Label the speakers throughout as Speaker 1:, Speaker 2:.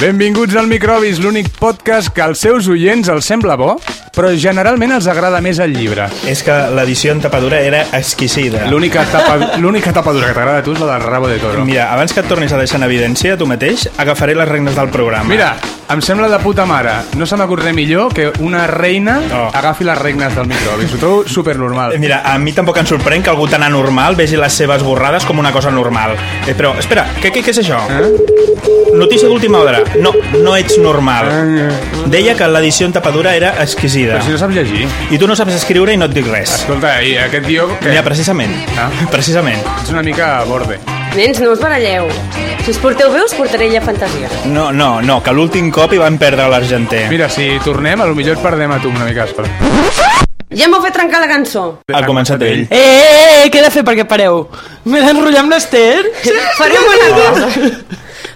Speaker 1: Benvinguts al Microbis, l'únic podcast que als seus oients els sembla bo, però generalment els agrada més el llibre.
Speaker 2: És que l'edició en tapadura era exquisida.
Speaker 1: L'única tapa, l'única tapadura que t'agrada a tu és la del rabo de toro.
Speaker 2: Mira, abans que et tornis a deixar en evidència tu mateix, agafaré les regnes del programa.
Speaker 1: Mira, em sembla de puta mare. No se m'acord res millor que una reina
Speaker 2: Oh.
Speaker 1: agafi les regnes del Microbis. Ho trobo supernormal.
Speaker 2: Eh, Mira, a mi tampoc em sorprèn que algú tan anormal vegi les seves borrades com una cosa normal. Eh, però, espera, què, què, què és això?
Speaker 1: Eh? Eh,
Speaker 2: Notícia d'última hora. No, no ets normal. Deia que l'edició en tapadura era exquisida.
Speaker 1: Però si no saps llegir.
Speaker 2: I tu no saps escriure i no et dic res.
Speaker 1: Escolta, i aquest guió... Que...
Speaker 2: Mira, precisament.
Speaker 1: Ah.
Speaker 2: Precisament.
Speaker 1: És una mica a borde.
Speaker 3: Nens, no us baralleu. Si us porteu bé, us portaré ella fantasia.
Speaker 2: No, no, no, que l'últim cop hi van perdre l'argenter.
Speaker 1: Mira, si tornem, a lo millor et perdem a tu una mica. Espera.
Speaker 3: Ja m'ho fet trencar la cançó.
Speaker 2: Ha començat ell.
Speaker 4: Eh, eh, eh, què he de fer perquè pareu? M'he d'enrotllar amb l'Ester?
Speaker 3: Farem una cosa.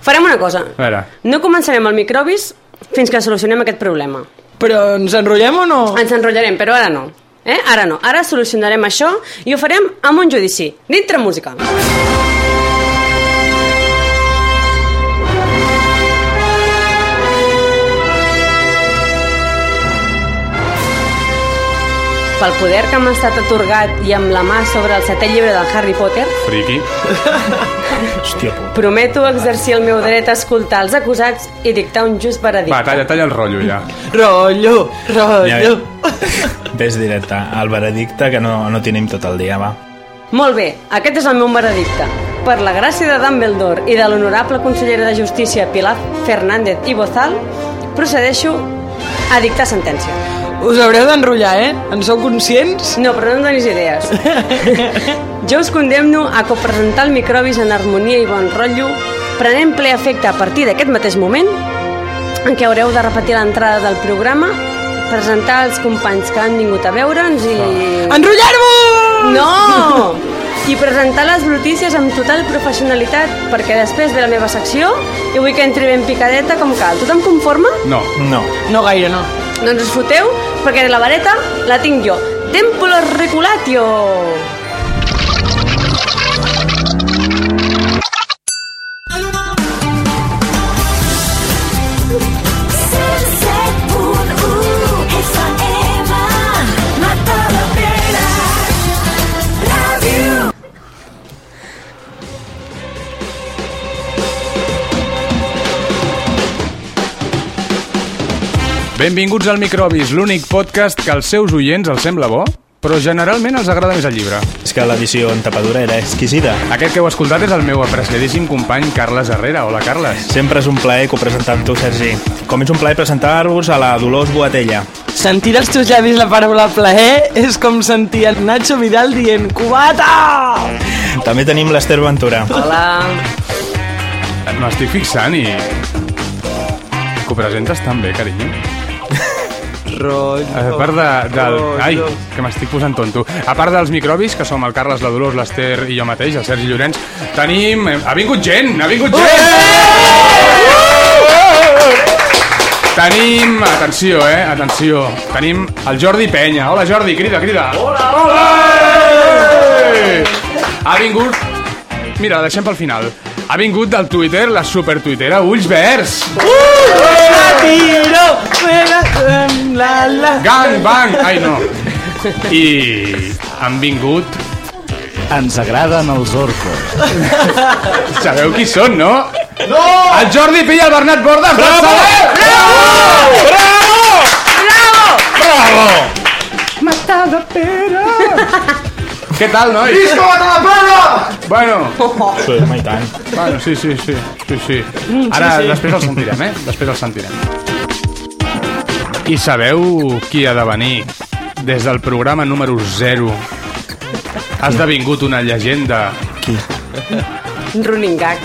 Speaker 3: Farem una cosa.
Speaker 1: A veure.
Speaker 3: No començarem el microbis fins que solucionem aquest problema.
Speaker 4: Però ens enrotllem o no?
Speaker 3: Ens enrotllarem, però ara no. Eh? Ara no. Ara solucionarem això i ho farem amb un judici, dintre música. Pel poder que m'ha estat atorgat i amb la mà sobre el setè llibre del Harry Potter,
Speaker 1: Friki.
Speaker 2: Hòstia puta.
Speaker 3: prometo exercir el meu dret a escoltar els acusats i dictar un just veredicte.
Speaker 1: Va, talla, talla el rotllo ja.
Speaker 4: Rotllo, rotllo.
Speaker 2: Ves directe al veredicte, que no, no tenim tot el dia, va.
Speaker 3: Molt bé, aquest és el meu veredicte. Per la gràcia de Dumbledore i de l'honorable consellera de Justícia Pilar Fernández i Bozal, procedeixo a dictar sentència.
Speaker 4: Us haureu d'enrotllar, eh? En sou conscients?
Speaker 3: No, però no em donis idees. Jo us condemno a copresentar el microbis en harmonia i bon rotllo, prenent ple efecte a partir d'aquest mateix moment, en què haureu de repetir l'entrada del programa, presentar els companys que han vingut a veure'ns i...
Speaker 4: Enrotllar-vos!
Speaker 3: No! I presentar les brutícies amb total professionalitat, perquè després ve la meva secció i vull que entri ben picadeta com cal. Tothom conforme?
Speaker 1: No.
Speaker 2: No.
Speaker 4: No gaire, no.
Speaker 3: Doncs us foteu, perquè la vareta la tinc jo. Tempulo reculatio!
Speaker 1: Benvinguts al Microbis, l'únic podcast que als seus oients els sembla bo, però generalment els agrada més el llibre.
Speaker 2: És que l'edició en tapadura era exquisida.
Speaker 1: Aquest que heu escoltat és el meu apreciadíssim company Carles Herrera. Hola, Carles.
Speaker 2: Sempre és un plaer copresentar amb tu, Sergi. Com és un plaer presentar-vos a la Dolors Boatella.
Speaker 4: Sentir als teus llavis la paraula plaer Eh, és com sentir el Nacho Vidal dient Cubata!
Speaker 2: També tenim l'Ester Ventura.
Speaker 3: Hola!
Speaker 1: M'estic fixant i... Que ho presentes tan bé, carinyo.
Speaker 4: Rotllo.
Speaker 1: A part de, del... Ai, que m'estic posant tonto. A part dels microbis, que som el Carles, la Dolors, l'Ester i jo mateix, el Sergi Llorenç, tenim... Ha vingut gent! Ha vingut gent! Tenim, atenció, eh, atenció, tenim el Jordi Penya. Hola, Jordi, crida, crida. Hola, hola! Ha vingut... Mira, la deixem pel final. Ha vingut del Twitter, la supertuitera Ulls Verds.
Speaker 4: La tiro, me la... la, la.
Speaker 1: Gang, bang! Ai, no. I han vingut...
Speaker 5: Ens agraden els orcos.
Speaker 1: Sabeu qui són, no? No! El Jordi pilla el Bernat Bordes. Bravo! Què tal, noi? Disco Matadapera! Bueno,
Speaker 2: Sí, home, i tant.
Speaker 1: bueno, sí, sí, sí, sí, Mm, sí. Ara, després el sentirem, eh? Després el sentirem. I sabeu qui ha de venir des del programa número 0? Ha esdevingut una llegenda
Speaker 3: Running gag.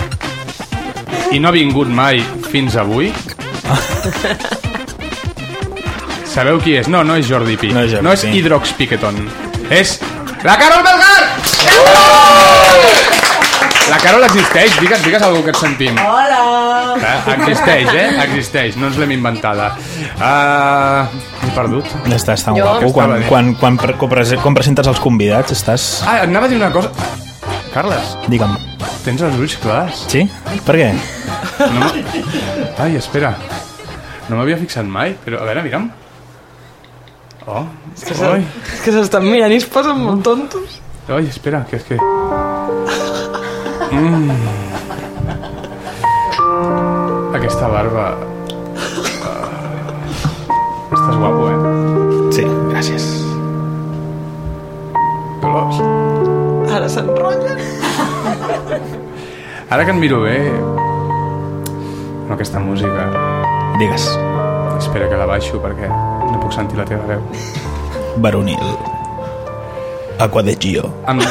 Speaker 1: i no ha vingut mai fins avui? Sabeu qui és? No, no és Jordi Pi.
Speaker 2: No és Jordi
Speaker 1: no és
Speaker 2: Pi.
Speaker 1: Hidrox Piqueton. És la Carol Belgar! La Carol existeix, digues, digues algú que et sentim. Hola! Eh? Existeix, eh? Existeix, no ens l'hem inventada. Eh, Uh, M'he perdut.
Speaker 2: Ja Estàs tan
Speaker 3: Jo-
Speaker 2: guapo.
Speaker 1: Estava
Speaker 2: Quan,
Speaker 1: bé.
Speaker 2: quan, quan, pre- quan, prese- quan presentes els convidats, estàs...
Speaker 1: Ah, anava a dir una cosa. Carles,
Speaker 2: Digue'm.
Speaker 1: tens els ulls clars.
Speaker 2: Sí? Per què?
Speaker 1: No m'ha- Ai, espera. No m'havia fixat mai, però a veure, mira'm. Oh, oi,
Speaker 4: És que s'estan mirant i es posen molt tontos.
Speaker 1: oi, espera, que és que... Mm. Aquesta barba... Ah. Estàs guapo, eh?
Speaker 2: Sí, gràcies.
Speaker 1: Colors.
Speaker 4: Ara s'enrotllen.
Speaker 1: Ara que em miro bé... No, aquesta música...
Speaker 2: Digues,
Speaker 1: Espera que la baixo perquè no puc sentir la teva veu.
Speaker 2: Baronil. Aqua de Gio.
Speaker 1: Amb...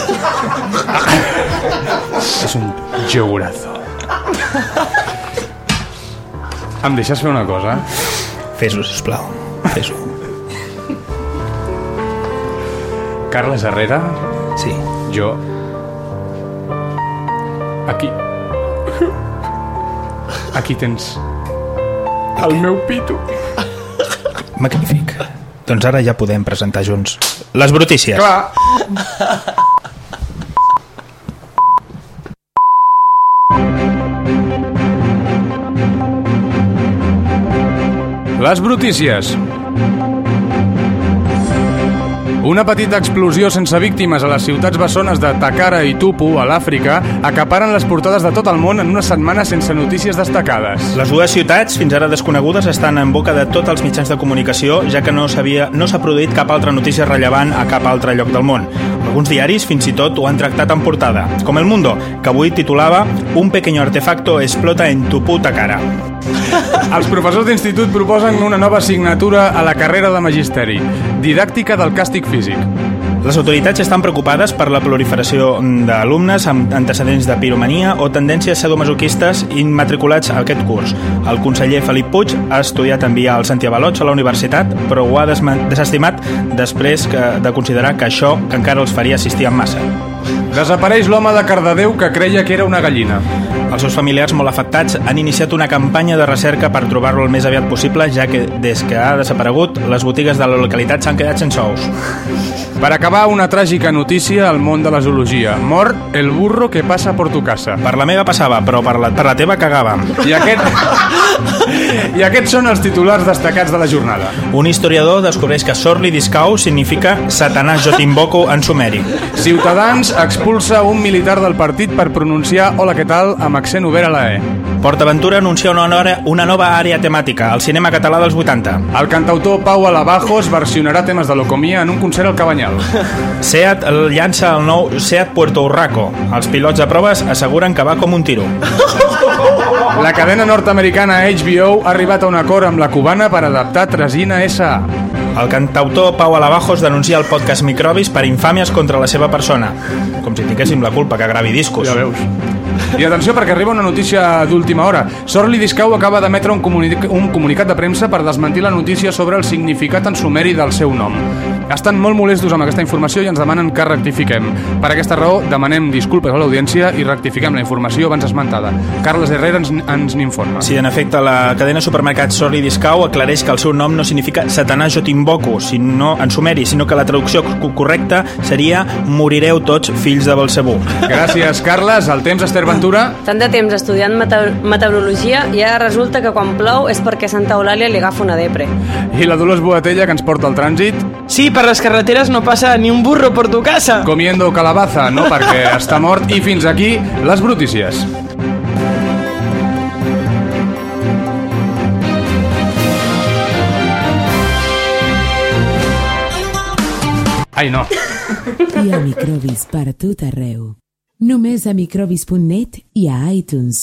Speaker 1: És un geograzo. Em deixes fer una cosa?
Speaker 2: Fes-ho, sisplau. Fes-ho.
Speaker 1: Carles Herrera,
Speaker 2: Sí.
Speaker 1: jo... Aquí... Aquí tens... El meu pito.
Speaker 2: Magnífic. Doncs ara ja podem presentar junts les brutícies.
Speaker 1: Clar. Les brutícies. Una petita explosió sense víctimes a les ciutats bessones de Takara i Tupu, a l'Àfrica, acaparen les portades de tot el món en una setmana sense notícies destacades.
Speaker 2: Les dues ciutats, fins ara desconegudes, estan en boca de tots els mitjans de comunicació, ja que no s'havia no s'ha produït cap altra notícia rellevant a cap altre lloc del món. Alguns diaris fins i tot ho han tractat en portada, com El Mundo, que avui titulava Un pequeño artefacto explota en tu puta cara.
Speaker 1: Els professors d'institut proposen una nova assignatura a la carrera de magisteri, didàctica del càstig físic.
Speaker 2: Les autoritats estan preocupades per la proliferació d'alumnes amb antecedents de piromania o tendències sadomasoquistes immatriculats a aquest curs. El conseller Felip Puig ha estudiat enviar els antiavalots a la universitat, però ho ha desma- desestimat després que, de considerar que això encara els faria assistir en massa.
Speaker 1: Desapareix l'home de Cardedeu que creia que era una gallina.
Speaker 2: Els seus familiars molt afectats han iniciat una campanya de recerca per trobar-lo el més aviat possible, ja que des que ha desaparegut, les botigues de la localitat s'han quedat sense ous.
Speaker 1: Per acabar, una tràgica notícia al món de la zoologia. Mor el burro que passa por tu casa.
Speaker 2: Per la meva passava, però per la, per la teva cagàvem.
Speaker 1: I aquest... I aquests són els titulars destacats de la jornada.
Speaker 2: Un historiador descobreix que Sorli Discau significa Satanàs jo t'invoco en sumeri.
Speaker 1: Ciutadans expulsa un militar del partit per pronunciar hola què tal amb accent obert a la E.
Speaker 2: PortAventura anuncia una, nora, una nova àrea temàtica, el cinema català dels 80.
Speaker 1: El cantautor Pau Alabajos versionarà temes de locomia en un concert al Cabanyal.
Speaker 2: Seat el llança el nou Seat Puerto Urraco. Els pilots de proves asseguren que va com un tiro.
Speaker 1: La cadena nord-americana HBO ha arribat a un acord amb la cubana per adaptar Tresina S.A.
Speaker 2: El cantautor Pau Alabajos denuncia el podcast Microbis per infàmies contra la seva persona. Com si tinguéssim la culpa que gravi discos.
Speaker 1: Ja veus. I atenció, perquè arriba una notícia d'última hora. Sorli Discau acaba d'emetre un, comuni un comunicat de premsa per desmentir la notícia sobre el significat en sumeri del seu nom. Estan molt molestos amb aquesta informació i ens demanen que rectifiquem. Per aquesta raó, demanem disculpes a l'audiència i rectifiquem la informació abans esmentada. Carles Herrera ens, ens n'informa.
Speaker 2: Sí, en efecte, la cadena supermercat Sorry Discau aclareix que el seu nom no significa Satanàs jo t'invoco, sinó en sumeri, sinó que la traducció co- correcta seria Morireu tots, fills de Balsebú.
Speaker 1: Gràcies, Carles. El temps, Esther Ventura.
Speaker 3: Tant de temps estudiant meteor meteorologia i ara resulta que quan plou és perquè Santa Eulàlia li agafa una depre.
Speaker 1: I la Dolors Boatella, que ens porta el trànsit.
Speaker 4: Sí, per les carreteres no passa ni un burro per tu casa.
Speaker 1: Comiendo calabaza, no? Perquè està mort. I fins aquí, les brutícies. Ai, no.
Speaker 6: i a Microbis per tot arreu. Només a microbis.net i a iTunes.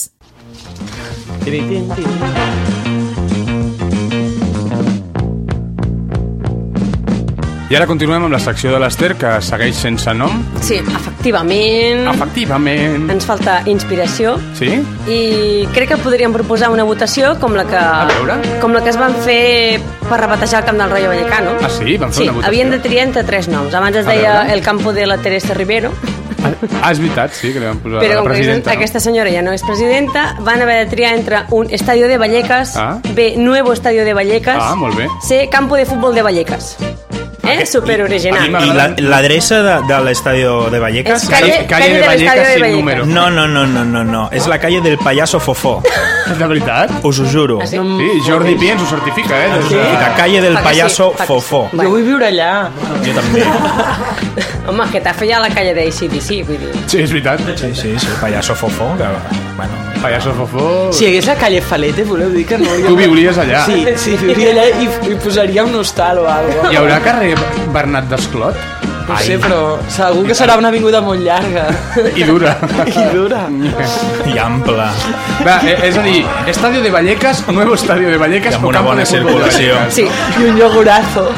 Speaker 1: I ara continuem amb la secció de l'Ester, que segueix sense nom.
Speaker 3: Sí, efectivament,
Speaker 1: Efectivament.
Speaker 3: ens falta inspiració
Speaker 1: Sí?
Speaker 3: i crec que podríem proposar una votació com la que,
Speaker 1: veure.
Speaker 3: com la que es van fer per rebatejar el Camp del Rayo Vallecano.
Speaker 1: Ah, sí? Van fer
Speaker 3: Sí,
Speaker 1: una votació?
Speaker 3: havien de triar entre tres noms. Abans es
Speaker 1: A
Speaker 3: deia
Speaker 1: veure.
Speaker 3: el campo de la Teresa Rivero,
Speaker 1: Ah, és veritat, sí, que li van posar
Speaker 3: però
Speaker 1: la
Speaker 3: com que
Speaker 1: presidenta. no?
Speaker 3: aquesta senyora ja no és presidenta, van haver de triar entre un Estadio de Vallecas,
Speaker 1: Ah.
Speaker 3: B, Nuevo Estadio de Vallecas,
Speaker 1: Ah, molt bé.
Speaker 3: C, Campo de Futbol de Vallecas. Eh?
Speaker 1: a mi
Speaker 3: Superoriginal.
Speaker 1: Ah. m'agrada.
Speaker 2: I la- l'adreça la, de, de l'estadio de Vallecas?
Speaker 3: És Calle-
Speaker 1: calle
Speaker 3: calle
Speaker 1: de
Speaker 3: del Estadio
Speaker 1: Vallecas
Speaker 3: de
Speaker 1: sin
Speaker 3: Vallecas.
Speaker 1: número.
Speaker 2: No, no, no, no, no, no. És la calle del payaso Fofó.
Speaker 1: De veritat?
Speaker 2: Us ho juro. Ah,
Speaker 3: Ah, sí?
Speaker 1: Sí, Jordi Pi ens ho certifica, eh? Des de...
Speaker 2: La calle del
Speaker 3: Fa que sí,
Speaker 2: payaso
Speaker 3: fa que sí.
Speaker 2: fofó.
Speaker 4: Jo vull viure allà.
Speaker 2: Jo també.
Speaker 3: Home, que t'ha fet ja la calle d'ACDC, vull dir.
Speaker 1: Sí, és veritat.
Speaker 2: Sí, sí, sí, payaso fofó, que, bueno,
Speaker 1: Payaso Fofó...
Speaker 4: Si hi hagués la calle Falete, voleu dir que no...
Speaker 1: Tu viuries allà.
Speaker 4: Sí, sí, viuria allà i, i posaria un hostal o alguna cosa.
Speaker 1: Hi haurà carrer Bernat Desclot?
Speaker 4: No ho sé, però segur que serà una avinguda molt llarga.
Speaker 1: I dura.
Speaker 4: I dura.
Speaker 2: i ample,
Speaker 1: Va, eh, és a dir, Estadio de Vallecas, nuevo Estadio de
Speaker 2: i
Speaker 1: Vallecas...
Speaker 2: amb
Speaker 1: o
Speaker 2: una
Speaker 1: campo
Speaker 2: bona
Speaker 1: de futbol de
Speaker 2: circulació.
Speaker 1: Vallecas.
Speaker 3: Sí,
Speaker 4: I un iogurazo.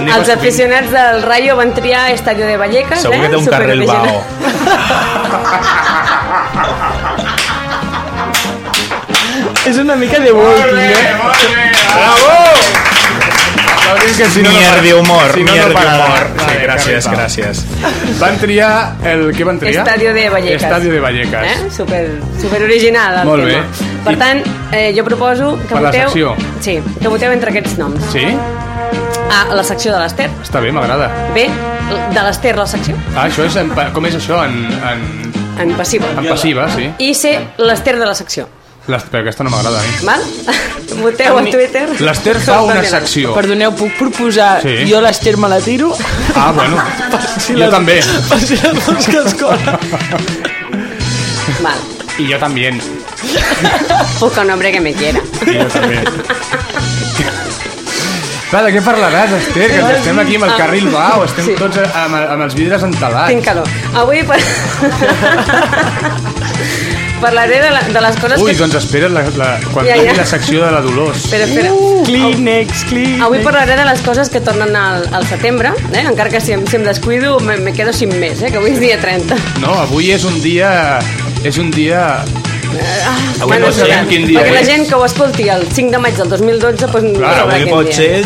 Speaker 1: Anem
Speaker 3: els
Speaker 1: a-
Speaker 3: aficionats del Rayo van triar Estadio de Vallecas,
Speaker 2: Segur
Speaker 3: eh?
Speaker 2: que té un carrer el
Speaker 3: Superaficionats.
Speaker 2: Bao.
Speaker 4: És una mica de walking, eh?
Speaker 1: La veritat és que si no, no
Speaker 2: Mierdi humor,
Speaker 1: si no, no
Speaker 2: mierdi
Speaker 1: pararà.
Speaker 2: humor.
Speaker 1: Vale,
Speaker 2: Sí, gràcies,
Speaker 1: Carripa.
Speaker 2: gràcies.
Speaker 1: Van triar el... Què van triar?
Speaker 3: Estadio de Vallecas.
Speaker 1: Estadio de Vallecas.
Speaker 3: Eh? Super, super original el
Speaker 1: Molt
Speaker 3: tema.
Speaker 1: bé.
Speaker 3: Per
Speaker 1: I-
Speaker 3: tant, eh, jo proposo que
Speaker 1: Per la
Speaker 3: voteu...
Speaker 1: secció.
Speaker 3: Sí, que voteu entre aquests noms.
Speaker 1: Sí?
Speaker 3: A, la secció de l'Ester.
Speaker 1: Està bé, m'agrada.
Speaker 3: B, de l'Ester la secció.
Speaker 1: Ah, això és en, pa- com és això? En, en,
Speaker 3: En passiva.
Speaker 1: en passiva, sí.
Speaker 3: I C, l'Ester de la secció.
Speaker 1: Les, però aquesta no m'agrada a mi.
Speaker 3: Val? Voteu a Twitter.
Speaker 1: L'Ester fa una secció.
Speaker 4: Perdoneu, puc proposar...
Speaker 1: Sí.
Speaker 4: Jo l'Ester me la tiro?
Speaker 1: Ah, bueno. Jo
Speaker 4: les-
Speaker 1: també.
Speaker 4: Per si les dues que es corren.
Speaker 3: Val.
Speaker 1: I jo també.
Speaker 3: Busca un hombre que me quiera.
Speaker 1: I jo també. Va, de què parlaràs, Esther? Que ens estem aquí amb el carril blau, estem
Speaker 3: Ah. Sí.
Speaker 1: tots amb, amb els vidres entelats.
Speaker 3: Tinc calor. Avui per... parlaré de, la, de les coses
Speaker 1: Ui,
Speaker 3: que...
Speaker 1: doncs espera't la, la, quan
Speaker 3: Ja,
Speaker 1: ja,
Speaker 3: ja.
Speaker 1: la secció de la Dolors.
Speaker 3: Espera, espera.
Speaker 1: Uh!
Speaker 4: Kleenex, Kleenex.
Speaker 3: Avui parlaré de les coses que tornen al, al setembre, eh? encara que si, em- si em descuido me, me quedo sin més, eh? que avui és dia 30.
Speaker 1: Uh, No, avui és un dia... És un dia...
Speaker 3: Eh, ah,
Speaker 2: Avui pot ser
Speaker 3: sabem
Speaker 1: quin dia
Speaker 3: Perquè la
Speaker 1: és.
Speaker 3: gent que ho escolti el 5 de maig del 2012 doncs no
Speaker 1: Clar,
Speaker 3: sabrà
Speaker 2: Avui
Speaker 3: quin
Speaker 2: pot
Speaker 3: dia.
Speaker 2: ser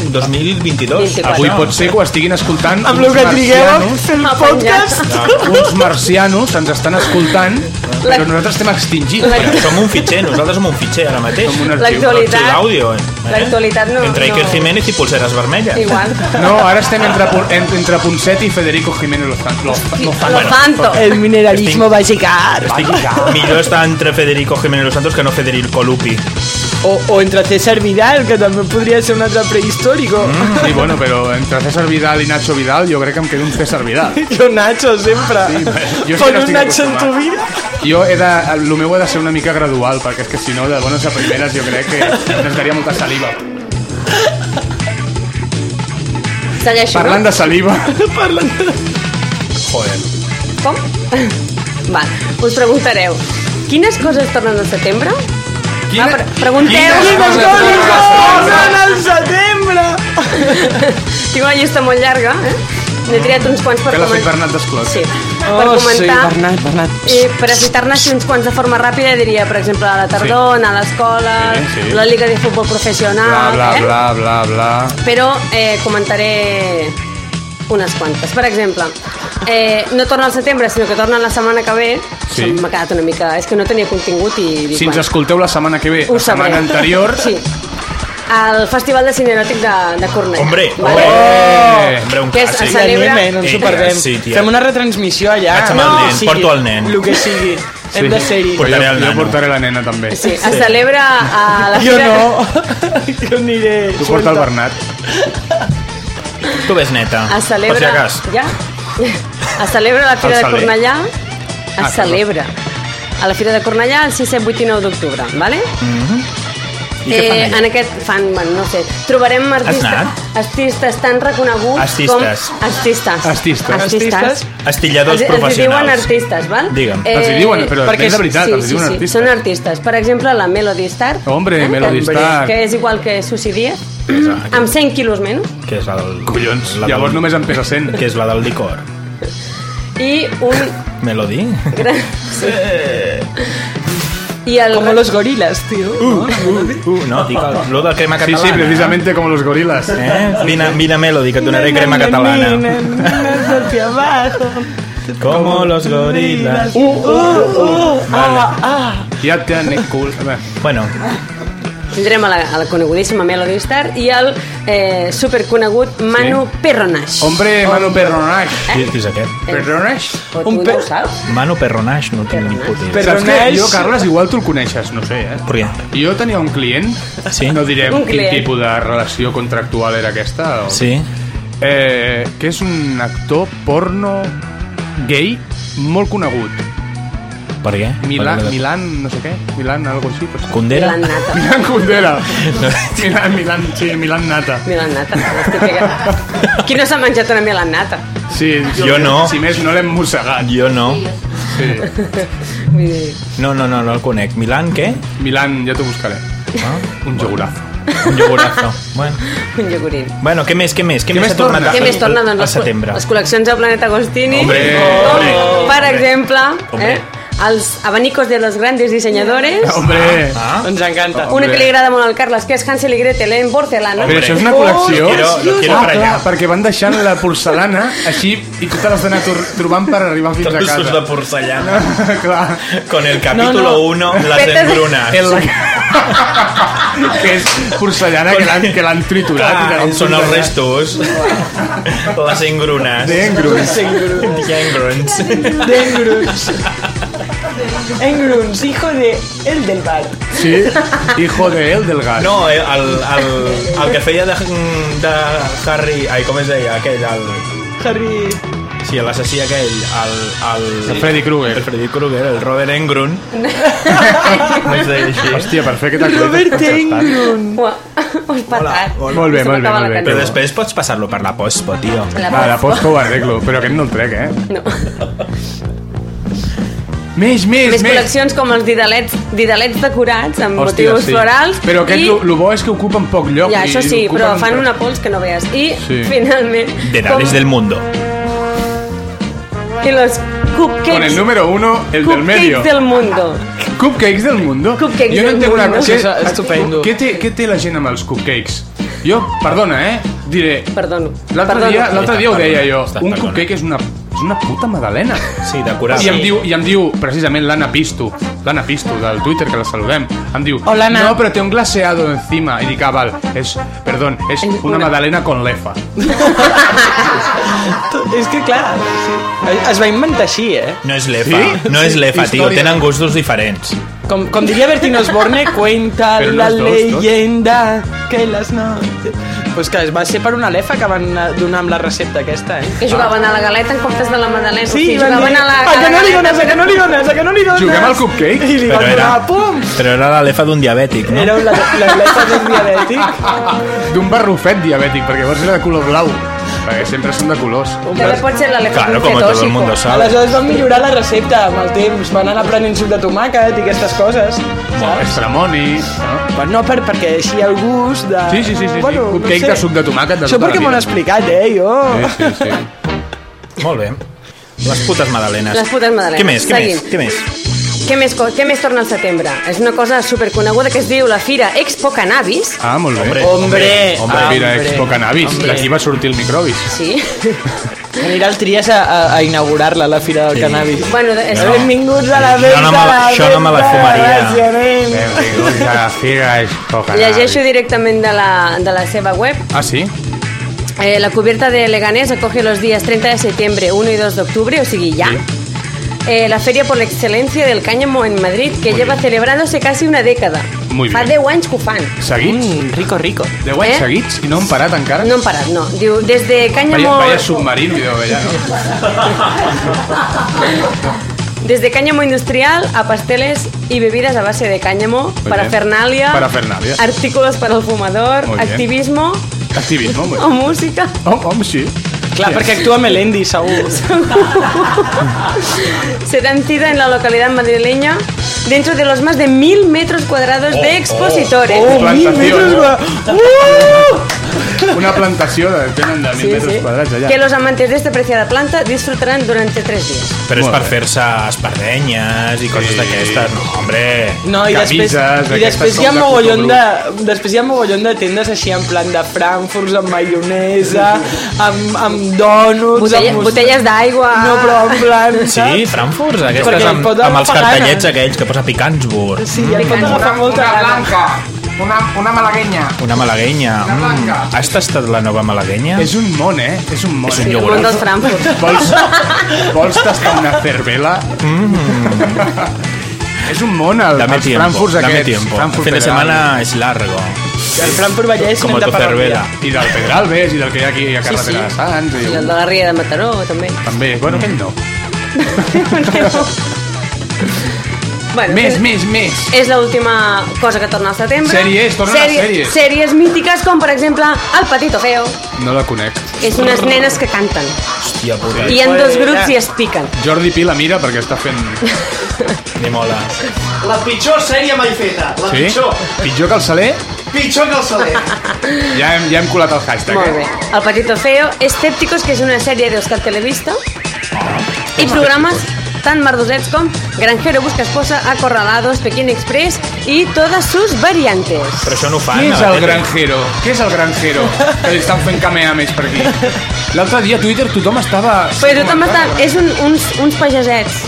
Speaker 2: 2022.
Speaker 3: 24.
Speaker 1: Avui pot ser que ho estiguin escoltant
Speaker 4: Amb el que trigueu
Speaker 1: marcianos.
Speaker 4: fent
Speaker 3: Ah,
Speaker 4: el
Speaker 3: penjat.
Speaker 4: podcast...
Speaker 1: Uns marcianos ens estan escoltant,
Speaker 3: La-
Speaker 1: però nosaltres estem extingits.
Speaker 3: La-
Speaker 1: Ja.
Speaker 2: Som un fitxer, nosaltres som un fitxer ara mateix.
Speaker 1: Som un arxiu.
Speaker 3: L'actualitat-
Speaker 2: Tot l'àudio, eh?
Speaker 3: L'actualitat no-
Speaker 2: Entre Iker
Speaker 3: no.
Speaker 2: Jiménez i Pulseres Vermelles.
Speaker 3: Igual.
Speaker 1: No, ara estem entre, Pon- en- entre Ponset i Federico Jiménez Lozano. Lo- Lozano.
Speaker 3: Lo fanto.
Speaker 4: El mineralismo
Speaker 2: Estic-
Speaker 4: va llegar.
Speaker 2: Millor està entre Federico Jiménez Los Santos que no Federico Lupi.
Speaker 4: O, o entre César Vidal, que també podria ser un altre prehistòrico. Mm.
Speaker 1: Sí, bueno, però entre César Vidal i Nacho Vidal jo crec que em quedo un César Vidal.
Speaker 4: Jo Nacho, sempre.
Speaker 1: Sí, bé, jo és que
Speaker 4: Pon
Speaker 1: no
Speaker 4: un
Speaker 1: estic
Speaker 4: Nacho en tu
Speaker 1: acostumat.
Speaker 4: vida.
Speaker 1: Jo he de... El meu ha de ser una mica gradual, perquè és que si no, de bones a primeres jo crec que necessitaria molta saliva.
Speaker 3: Segueixo,
Speaker 1: Parlant de saliva...
Speaker 2: Joder.
Speaker 3: no? Com? Va, us preguntareu, quines coses tornen al setembre?
Speaker 4: Ah,
Speaker 1: Quina...
Speaker 3: pre- pregunteu.
Speaker 1: Quines
Speaker 3: Quines
Speaker 1: coses
Speaker 3: coses
Speaker 1: tornen a
Speaker 4: Oh,
Speaker 1: saliva?
Speaker 4: no, al setembre! Ah.
Speaker 3: Tinc una llista molt llarga, eh? N'he triat uns quants per
Speaker 1: Que l'ha fet
Speaker 3: comentar.
Speaker 1: Bernat Desclot.
Speaker 3: Sí, per
Speaker 4: Oh, sí,
Speaker 3: comentar.
Speaker 4: Bernat, Bernat.
Speaker 3: I per citar-ne així uns quants de forma ràpida, diria, per exemple, a la tardor, anar a l'escola,
Speaker 1: Sí, sí.
Speaker 3: la Liga de Futbol
Speaker 1: Bla,
Speaker 3: Professional...
Speaker 1: bla,
Speaker 3: eh?
Speaker 1: bla, bla, bla...
Speaker 3: Però eh, comentaré unes quantes. Per exemple, eh, no torna al setembre, sinó que torna la setmana que ve.
Speaker 1: Sí.
Speaker 3: Se'm M'ha quedat una mica... És que no tenia contingut i... Dic,
Speaker 1: Si ens
Speaker 3: bueno,
Speaker 1: escolteu la setmana que ve,
Speaker 3: ho
Speaker 1: la setmana
Speaker 3: sabré.
Speaker 1: anterior...
Speaker 3: Sí. Al Festival de Cine Eròtic de, de Cornellà.
Speaker 2: Hombre,
Speaker 3: Vale?
Speaker 1: Eh,
Speaker 2: Hombre, un
Speaker 3: Què és,
Speaker 2: clàssic.
Speaker 3: se celebra?
Speaker 4: Anem, eh, no ens
Speaker 2: Eh,
Speaker 4: ho perdem.
Speaker 2: sí, tia.
Speaker 4: Fem una retransmissió allà.
Speaker 2: Vaig amb el
Speaker 4: No,
Speaker 2: nen,
Speaker 4: que sigui,
Speaker 2: porto el nen.
Speaker 4: El que sigui. Hem de ser-hi.
Speaker 1: Però
Speaker 2: Portaré
Speaker 1: jo,
Speaker 2: el
Speaker 1: jo
Speaker 2: nano.
Speaker 1: portaré la nena també.
Speaker 3: Sí, es celebra a la
Speaker 4: Jo
Speaker 3: Fira-
Speaker 4: no. Jo aniré.
Speaker 1: Tu porta el Bernat.
Speaker 2: Tu ves neta.
Speaker 3: Es
Speaker 2: Per
Speaker 3: celebra...
Speaker 2: si acas.
Speaker 3: Ja? Es celebra a la
Speaker 2: El
Speaker 3: Fira de
Speaker 2: saler. Ah,
Speaker 3: Cornellà.
Speaker 1: perdó.
Speaker 3: Es celebra a la Fira de Cornellà el 6, 7, 8 i 9 d'octubre, ¿vale?
Speaker 2: I què fan
Speaker 3: Eh,
Speaker 2: allà?
Speaker 3: en aquest fan, bueno, no sé, trobarem artistes,
Speaker 2: anat?
Speaker 3: artistes tan reconeguts
Speaker 2: Artistes.
Speaker 3: com... Artistes.
Speaker 1: Artistes.
Speaker 3: Artistes.
Speaker 2: Astilladors
Speaker 3: Els- Els hi diuen
Speaker 2: professionals.
Speaker 3: artistes, val? Eh,
Speaker 2: Digue'm.
Speaker 1: Els hi diuen, però
Speaker 4: perquè
Speaker 1: perquè és de veritat,
Speaker 3: sí,
Speaker 1: els hi diuen
Speaker 3: sí, sí,
Speaker 1: artistes.
Speaker 3: són artistes. Per exemple, la Melody Star.
Speaker 1: Hombre,
Speaker 3: que-
Speaker 1: Melody Star.
Speaker 3: Que és igual que Susi Díaz,
Speaker 2: Exacte.
Speaker 3: amb 100 quilos menys.
Speaker 2: Que és la del...
Speaker 1: Collons,
Speaker 2: la
Speaker 1: llavors
Speaker 2: del-
Speaker 1: només em pesa 100.
Speaker 2: Que és la del licor.
Speaker 3: I un...
Speaker 2: Melody?
Speaker 3: gran- Sí.
Speaker 1: Eh.
Speaker 3: I el...
Speaker 4: Com los gorilas, tio. Uh,
Speaker 2: Uh, no, dic el- lo del crema
Speaker 1: Sí,
Speaker 2: catalana.
Speaker 1: sí, precisamente com los gorilas.
Speaker 2: Eh? Vine, vine Melody, que et donaré crema catalana.
Speaker 4: Hacia abajo.
Speaker 2: Como los gorilas.
Speaker 4: Uh, uh, ah, ah.
Speaker 1: Ja tenen cul...
Speaker 2: Bueno,
Speaker 3: tindrem a la, a la conegudíssima Melody Star i el eh, superconegut Manu sí. Perronaix.
Speaker 1: Hombre, Manu Perronaix.
Speaker 2: Qui, qui és aquest?
Speaker 1: Perronaix?
Speaker 3: Eh, Però
Speaker 4: un
Speaker 3: tu
Speaker 4: per-
Speaker 3: no ho saps?
Speaker 2: Mano Perronaix, no tinc ni puta idea.
Speaker 1: Saps què?
Speaker 4: Perronaix.
Speaker 1: Jo, Carles, igual tu el coneixes, no sé, eh?
Speaker 2: Per què?
Speaker 1: Jo tenia un client,
Speaker 2: Sí?
Speaker 1: no direm
Speaker 3: Un
Speaker 1: quin
Speaker 3: client.
Speaker 1: tipus de relació contractual era aquesta, o...
Speaker 2: Sí?
Speaker 1: eh, que és un actor porno gay molt conegut.
Speaker 2: Per què?
Speaker 1: Milà,
Speaker 2: Per què?
Speaker 1: Milan, no sé què, Milan, algo així. Però...
Speaker 2: Kundera?
Speaker 3: Milan Nata.
Speaker 1: Milan Kundera. Milan, Milan, sí, Milan Nata.
Speaker 3: Milan Nata, les típiques. Qui no s'ha menjat una Milan Nata?
Speaker 1: Sí,
Speaker 2: Jo no.
Speaker 1: Si més no l'hem mossegat.
Speaker 2: Jo no.
Speaker 1: Sí.
Speaker 3: Vull dir,
Speaker 2: No, no, no, no el conec. Milan, què?
Speaker 1: Milan, ja t'ho buscaré.
Speaker 2: Ah,
Speaker 1: Un jogurazo.
Speaker 2: un iogurazo. bueno.
Speaker 3: un iogurín.
Speaker 2: bueno, què més, què més? Què,
Speaker 1: Què
Speaker 2: més
Speaker 1: més
Speaker 2: ha tornat
Speaker 1: torna?
Speaker 2: a-
Speaker 3: Què més torna?
Speaker 2: a
Speaker 3: Doncs les,
Speaker 2: setembre?
Speaker 3: les col·leccions del Planeta Agostini.
Speaker 1: Hombre,
Speaker 3: com,
Speaker 1: hombre,
Speaker 3: per exemple,
Speaker 2: Hombre.
Speaker 3: eh, els abanicos de les grandes dissenyadores.
Speaker 1: Hombre,
Speaker 2: Ah?
Speaker 4: Ens encanta.
Speaker 3: Una que li agrada molt al Carles, que és Hansel i Gretel en porcelana.
Speaker 1: però això és una col·lecció?
Speaker 2: Lo quiero- lo quiero
Speaker 1: ah,
Speaker 2: para
Speaker 1: clar,
Speaker 2: allá.
Speaker 1: perquè van deixant la porcelana així i tu te l'has d'anar tor- trobant per arribar fins a
Speaker 2: Trossos de
Speaker 1: casa.
Speaker 2: porcellana.
Speaker 1: clar.
Speaker 2: Con el capítulo 1, las
Speaker 3: Fetes-
Speaker 2: embrunas.
Speaker 1: El... que és porcellana que l'han- que l'han triturat. i te
Speaker 2: Clar,
Speaker 1: l'han
Speaker 2: Ah, són els
Speaker 1: triturat.
Speaker 2: restos. les engrunes.
Speaker 1: D'engruns.
Speaker 2: Engruns.
Speaker 4: Engruns. Engruns, hijo de... El del bar.
Speaker 1: Sí, hijo de él del gas.
Speaker 2: No, eh, el, el, el que feia de, de Harry... Ai, com es deia? Aquell, el...
Speaker 4: Harry...
Speaker 2: Sí, l'assassí aquell, el... El,
Speaker 1: El Freddy Krueger.
Speaker 2: El Freddy Krueger, el Robert Engrun. no es deia així.
Speaker 1: Hòstia, per fer aquest acudit
Speaker 4: Robert
Speaker 1: has concertat.
Speaker 4: Engrun.
Speaker 3: Ua, Ho has
Speaker 2: Hola,
Speaker 3: patat.
Speaker 2: hola.
Speaker 1: Molt bé,
Speaker 3: Se
Speaker 1: molt bé,
Speaker 3: m'acaba
Speaker 1: molt
Speaker 3: la
Speaker 1: bé.
Speaker 2: Però
Speaker 3: cançó.
Speaker 2: després pots passar-lo per la pospo, tio.
Speaker 3: La
Speaker 1: Va, Ah, la post que ho arreglo, però aquest no el trec, eh?
Speaker 3: No.
Speaker 1: Més, més,
Speaker 3: Més col·leccions com els didalets, didalets decorats amb
Speaker 1: Hòstia,
Speaker 3: motius
Speaker 1: sí.
Speaker 3: florals.
Speaker 1: Però aquest,
Speaker 3: i-
Speaker 1: lo, lo bo és que ocupen poc lloc.
Speaker 3: Ja,
Speaker 1: i
Speaker 3: això sí,
Speaker 1: ocupen
Speaker 3: però
Speaker 1: un
Speaker 3: fan
Speaker 1: tro-
Speaker 3: una pols que no veus. I,
Speaker 1: Sí.
Speaker 3: finalment...
Speaker 2: De Dales del Mundo.
Speaker 3: I los
Speaker 1: Con el
Speaker 3: cupcakes...
Speaker 1: número uno, el del
Speaker 3: cupcakes
Speaker 1: medio.
Speaker 3: del mundo.
Speaker 1: Cupcakes del mundo?
Speaker 3: Cupcakes
Speaker 1: jo no
Speaker 3: del
Speaker 1: entenc una
Speaker 3: mundo.
Speaker 1: cosa.
Speaker 4: Sí, és estupendo.
Speaker 1: Què té, què té la gent amb els cupcakes? Jo, perdona, eh? Diré...
Speaker 3: Perdono.
Speaker 1: L'altre
Speaker 3: Perdono.
Speaker 1: dia, l'altre dia ho deia jo.
Speaker 2: Estàs
Speaker 1: Un
Speaker 2: perdona.
Speaker 1: cupcake és una, és una puta madalena.
Speaker 2: Sí, decorat.
Speaker 1: I em diu, i em diu precisament l'Anna Pisto, l'Anna Pisto del Twitter, que la saludem, em diu,
Speaker 4: Hola, Anna.
Speaker 1: no, però té un glaseado encima. I dic, ah, val, és, perdón, és
Speaker 3: És
Speaker 1: una
Speaker 3: una-
Speaker 1: madalena con lefa.
Speaker 4: És que clar, sí. es va inventar així, eh?
Speaker 2: No és l'EFA,
Speaker 1: Sí?
Speaker 2: no és l'EFA, tio.
Speaker 1: Història.
Speaker 2: Tenen gustos diferents.
Speaker 4: Com, com diría Bertino Osborne, cuenta
Speaker 1: Pero
Speaker 4: la
Speaker 1: los dos, dos.
Speaker 4: leyenda que las noches... Pues que es va ser per una lefa que van eh, donar amb la recepta aquesta, eh?
Speaker 3: Que jugaven a la galeta en comptes de la madalena. o sigui,
Speaker 4: van
Speaker 3: jugaven
Speaker 4: dir,
Speaker 3: a la,
Speaker 4: a que no li
Speaker 3: galeta.
Speaker 4: dones, a que no li dones, a que no li dones.
Speaker 1: Juguem al cupcake?
Speaker 4: I li van
Speaker 2: Però era-
Speaker 4: donar, pum!
Speaker 2: Però era la lefa d'un diabètic, no?
Speaker 4: Era un la, la lefa d'un diabètic.
Speaker 1: D'un barrufet diabètic, perquè llavors era de color blau. Perquè sempre són de colors.
Speaker 3: També pot ser l'elefant
Speaker 2: Claro, como todo el mundo sabe.
Speaker 4: Aleshores van millorar la recepta amb el temps, van anar aprenent suc de tomàquet i aquestes coses, saps?
Speaker 1: Estramoni... No?
Speaker 4: Però no per, perquè així el gust de...
Speaker 1: Sí, sí, sí, sí, sí. Cupcake de suc de tomàquet de
Speaker 4: Això
Speaker 1: tota la
Speaker 4: perquè m'ho
Speaker 1: vida.
Speaker 4: han explicat, eh, jo.
Speaker 1: Sí, sí, sí.
Speaker 2: Molt bé. Les putes madalenes.
Speaker 3: Les putes madalenes.
Speaker 2: Què més? Què
Speaker 3: Seguim.
Speaker 2: més? Què més?
Speaker 3: Què més, co- què més torna al setembre? És una cosa superconeguda que es diu la Fira Expo Cannabis.
Speaker 1: Ah, molt bé.
Speaker 2: Hombre.
Speaker 4: Hombre,
Speaker 1: Hombre, mira, Expo Cannabis.
Speaker 4: Hombre.
Speaker 1: D'aquí va sortir el microbis.
Speaker 3: Sí.
Speaker 4: Anirà el Trias a, a, a inaugurar-la, la Fira del Cannabis.
Speaker 3: bueno, de- és
Speaker 2: No.
Speaker 4: Benvinguts a la
Speaker 2: Jo
Speaker 4: venda.
Speaker 2: no me la- jo no me la fumaria.
Speaker 1: Benvinguts a la Fira Expo
Speaker 3: Llegeixo directament de la, de la seva web.
Speaker 1: Ah, sí?
Speaker 3: Eh, la cubierta de Leganés acoge los días 30 de septiembre, 1 y 2 de octubre, o sigui, ya. Eh, la Feria por la Excelencia del Cáñamo en Madrid, que lleva celebrándose casi una década.
Speaker 1: Muy
Speaker 3: Fa
Speaker 1: bien.
Speaker 3: 10 anys que ho fan.
Speaker 1: Seguits?
Speaker 4: Mm, rico, rico.
Speaker 1: Deu anys
Speaker 3: Eh?
Speaker 1: seguits i no han parat encara?
Speaker 3: No han parat, no. Diu, des de
Speaker 1: Vaya,
Speaker 3: Cáñamo...
Speaker 1: vaya submarino hi deu haver, ja, no?
Speaker 3: Desde cáñamo industrial a pasteles y bebidas a base de cáñamo,
Speaker 1: bien.
Speaker 3: parafernalia,
Speaker 1: Parafernalia.
Speaker 3: artículos para el fumador,
Speaker 1: Muy bien.
Speaker 3: activismo
Speaker 1: Activisme, home.
Speaker 3: o música.
Speaker 1: Hom, hom, sí. Oh.
Speaker 4: Clar, perquè actua Melendi, segur.
Speaker 3: Se dan cita en la localidad madrileña dentro de los más de mil metros cuadrados de
Speaker 4: eh?
Speaker 3: expositores.
Speaker 1: Oh, Plantació. eh?
Speaker 4: Uh!
Speaker 1: Una plantació de tenen de 1.000
Speaker 3: Sí,
Speaker 1: metres
Speaker 3: sí.
Speaker 1: quadrats allà.
Speaker 3: Que los amantes de esta preciada planta disfrutarán durante tres días.
Speaker 2: Però és
Speaker 1: Molt
Speaker 2: per
Speaker 1: bé.
Speaker 2: fer-se espardenyes i coses
Speaker 1: Sí.
Speaker 2: d'aquestes. No, hombre.
Speaker 4: No, i després,
Speaker 1: Camises,
Speaker 4: i després
Speaker 1: aquestes
Speaker 4: hi ha
Speaker 1: com de
Speaker 4: mogollon de,
Speaker 1: fotogrup.
Speaker 4: després hi ha mogollon de tendes així en plan de frankfurts, amb maionesa, amb, amb dònuts...
Speaker 3: Botella-
Speaker 4: amb
Speaker 3: botelles d'aigua.
Speaker 4: No, però en plan...
Speaker 2: Sí, Frankfurt, aquestes
Speaker 4: Perquè eh?
Speaker 2: amb,
Speaker 4: pot
Speaker 2: amb els
Speaker 4: agafar ganes.
Speaker 2: cartellets aquells que posa Picansburg.
Speaker 4: Sí, ja pot agafar molta gana.
Speaker 1: blanca.
Speaker 7: Una, una malagueña.
Speaker 2: Una malaguenya.
Speaker 7: Una blanca.
Speaker 2: Mm. Has tastat la nova malaguenya?
Speaker 1: És un món, eh? És un món.
Speaker 2: És un
Speaker 1: eh?
Speaker 2: lloc.
Speaker 3: El món dels Frankfurt.
Speaker 1: Vols, vols tastar una cervela? Mm. és un món, el,
Speaker 2: Mm-hmm. Dame
Speaker 1: els
Speaker 2: tiempo,
Speaker 1: Frankfurts
Speaker 2: dame
Speaker 1: aquests.
Speaker 2: tiempo. El
Speaker 1: Frankfurt
Speaker 2: fin de
Speaker 1: Federal.
Speaker 2: semana es largo.
Speaker 4: El Frankfurt Vallès
Speaker 2: Com
Speaker 4: n'hem
Speaker 2: a
Speaker 4: de
Speaker 2: tu
Speaker 4: parlar un dia.
Speaker 2: cervera.
Speaker 1: I del Pedralbes, i del que hi ha aquí a Carretera
Speaker 3: sí.
Speaker 1: de Sants.
Speaker 3: I
Speaker 1: I...
Speaker 3: el de la Ria de Mataró, també.
Speaker 1: També, bueno, aquell no.
Speaker 3: bueno,
Speaker 1: Més,
Speaker 3: és-
Speaker 1: més, més.
Speaker 3: És l'última cosa que torna al setembre.
Speaker 1: Sèries, tornen les sèries.
Speaker 3: Sèries mítiques com, per exemple, El Patito Feo.
Speaker 1: No la conec.
Speaker 3: És unes nenes que canten.
Speaker 2: Hòstia puta,
Speaker 3: I en
Speaker 1: Pues,
Speaker 3: dos grups i es piquen.
Speaker 1: Jordi Pi la mira perquè està fent...
Speaker 2: ni mola.
Speaker 8: La pitjor sèrie mai feta. La
Speaker 1: Sí?
Speaker 8: pitjor.
Speaker 1: Pitjor que el Saler?
Speaker 8: Pitjor que el Saler.
Speaker 1: Ja hem, ja hem colat el hashtag.
Speaker 3: Molt
Speaker 1: eh?
Speaker 3: bé. El Patito Feo és Tèpticos, que és una sèrie d'Euskat Televista. I programes tan merdosets com Granjero busca esposa, Acorralados, Pekín Express i totes sus variantes.
Speaker 2: Però això no ho fan.
Speaker 1: Què
Speaker 2: a
Speaker 1: és
Speaker 2: la
Speaker 1: el
Speaker 2: tele.
Speaker 1: granjero? Què és el granjero? Que li estan fent cameames per aquí. L'altre dia a Twitter tothom estava...
Speaker 3: Però tothom està... És un, uns, uns pagesets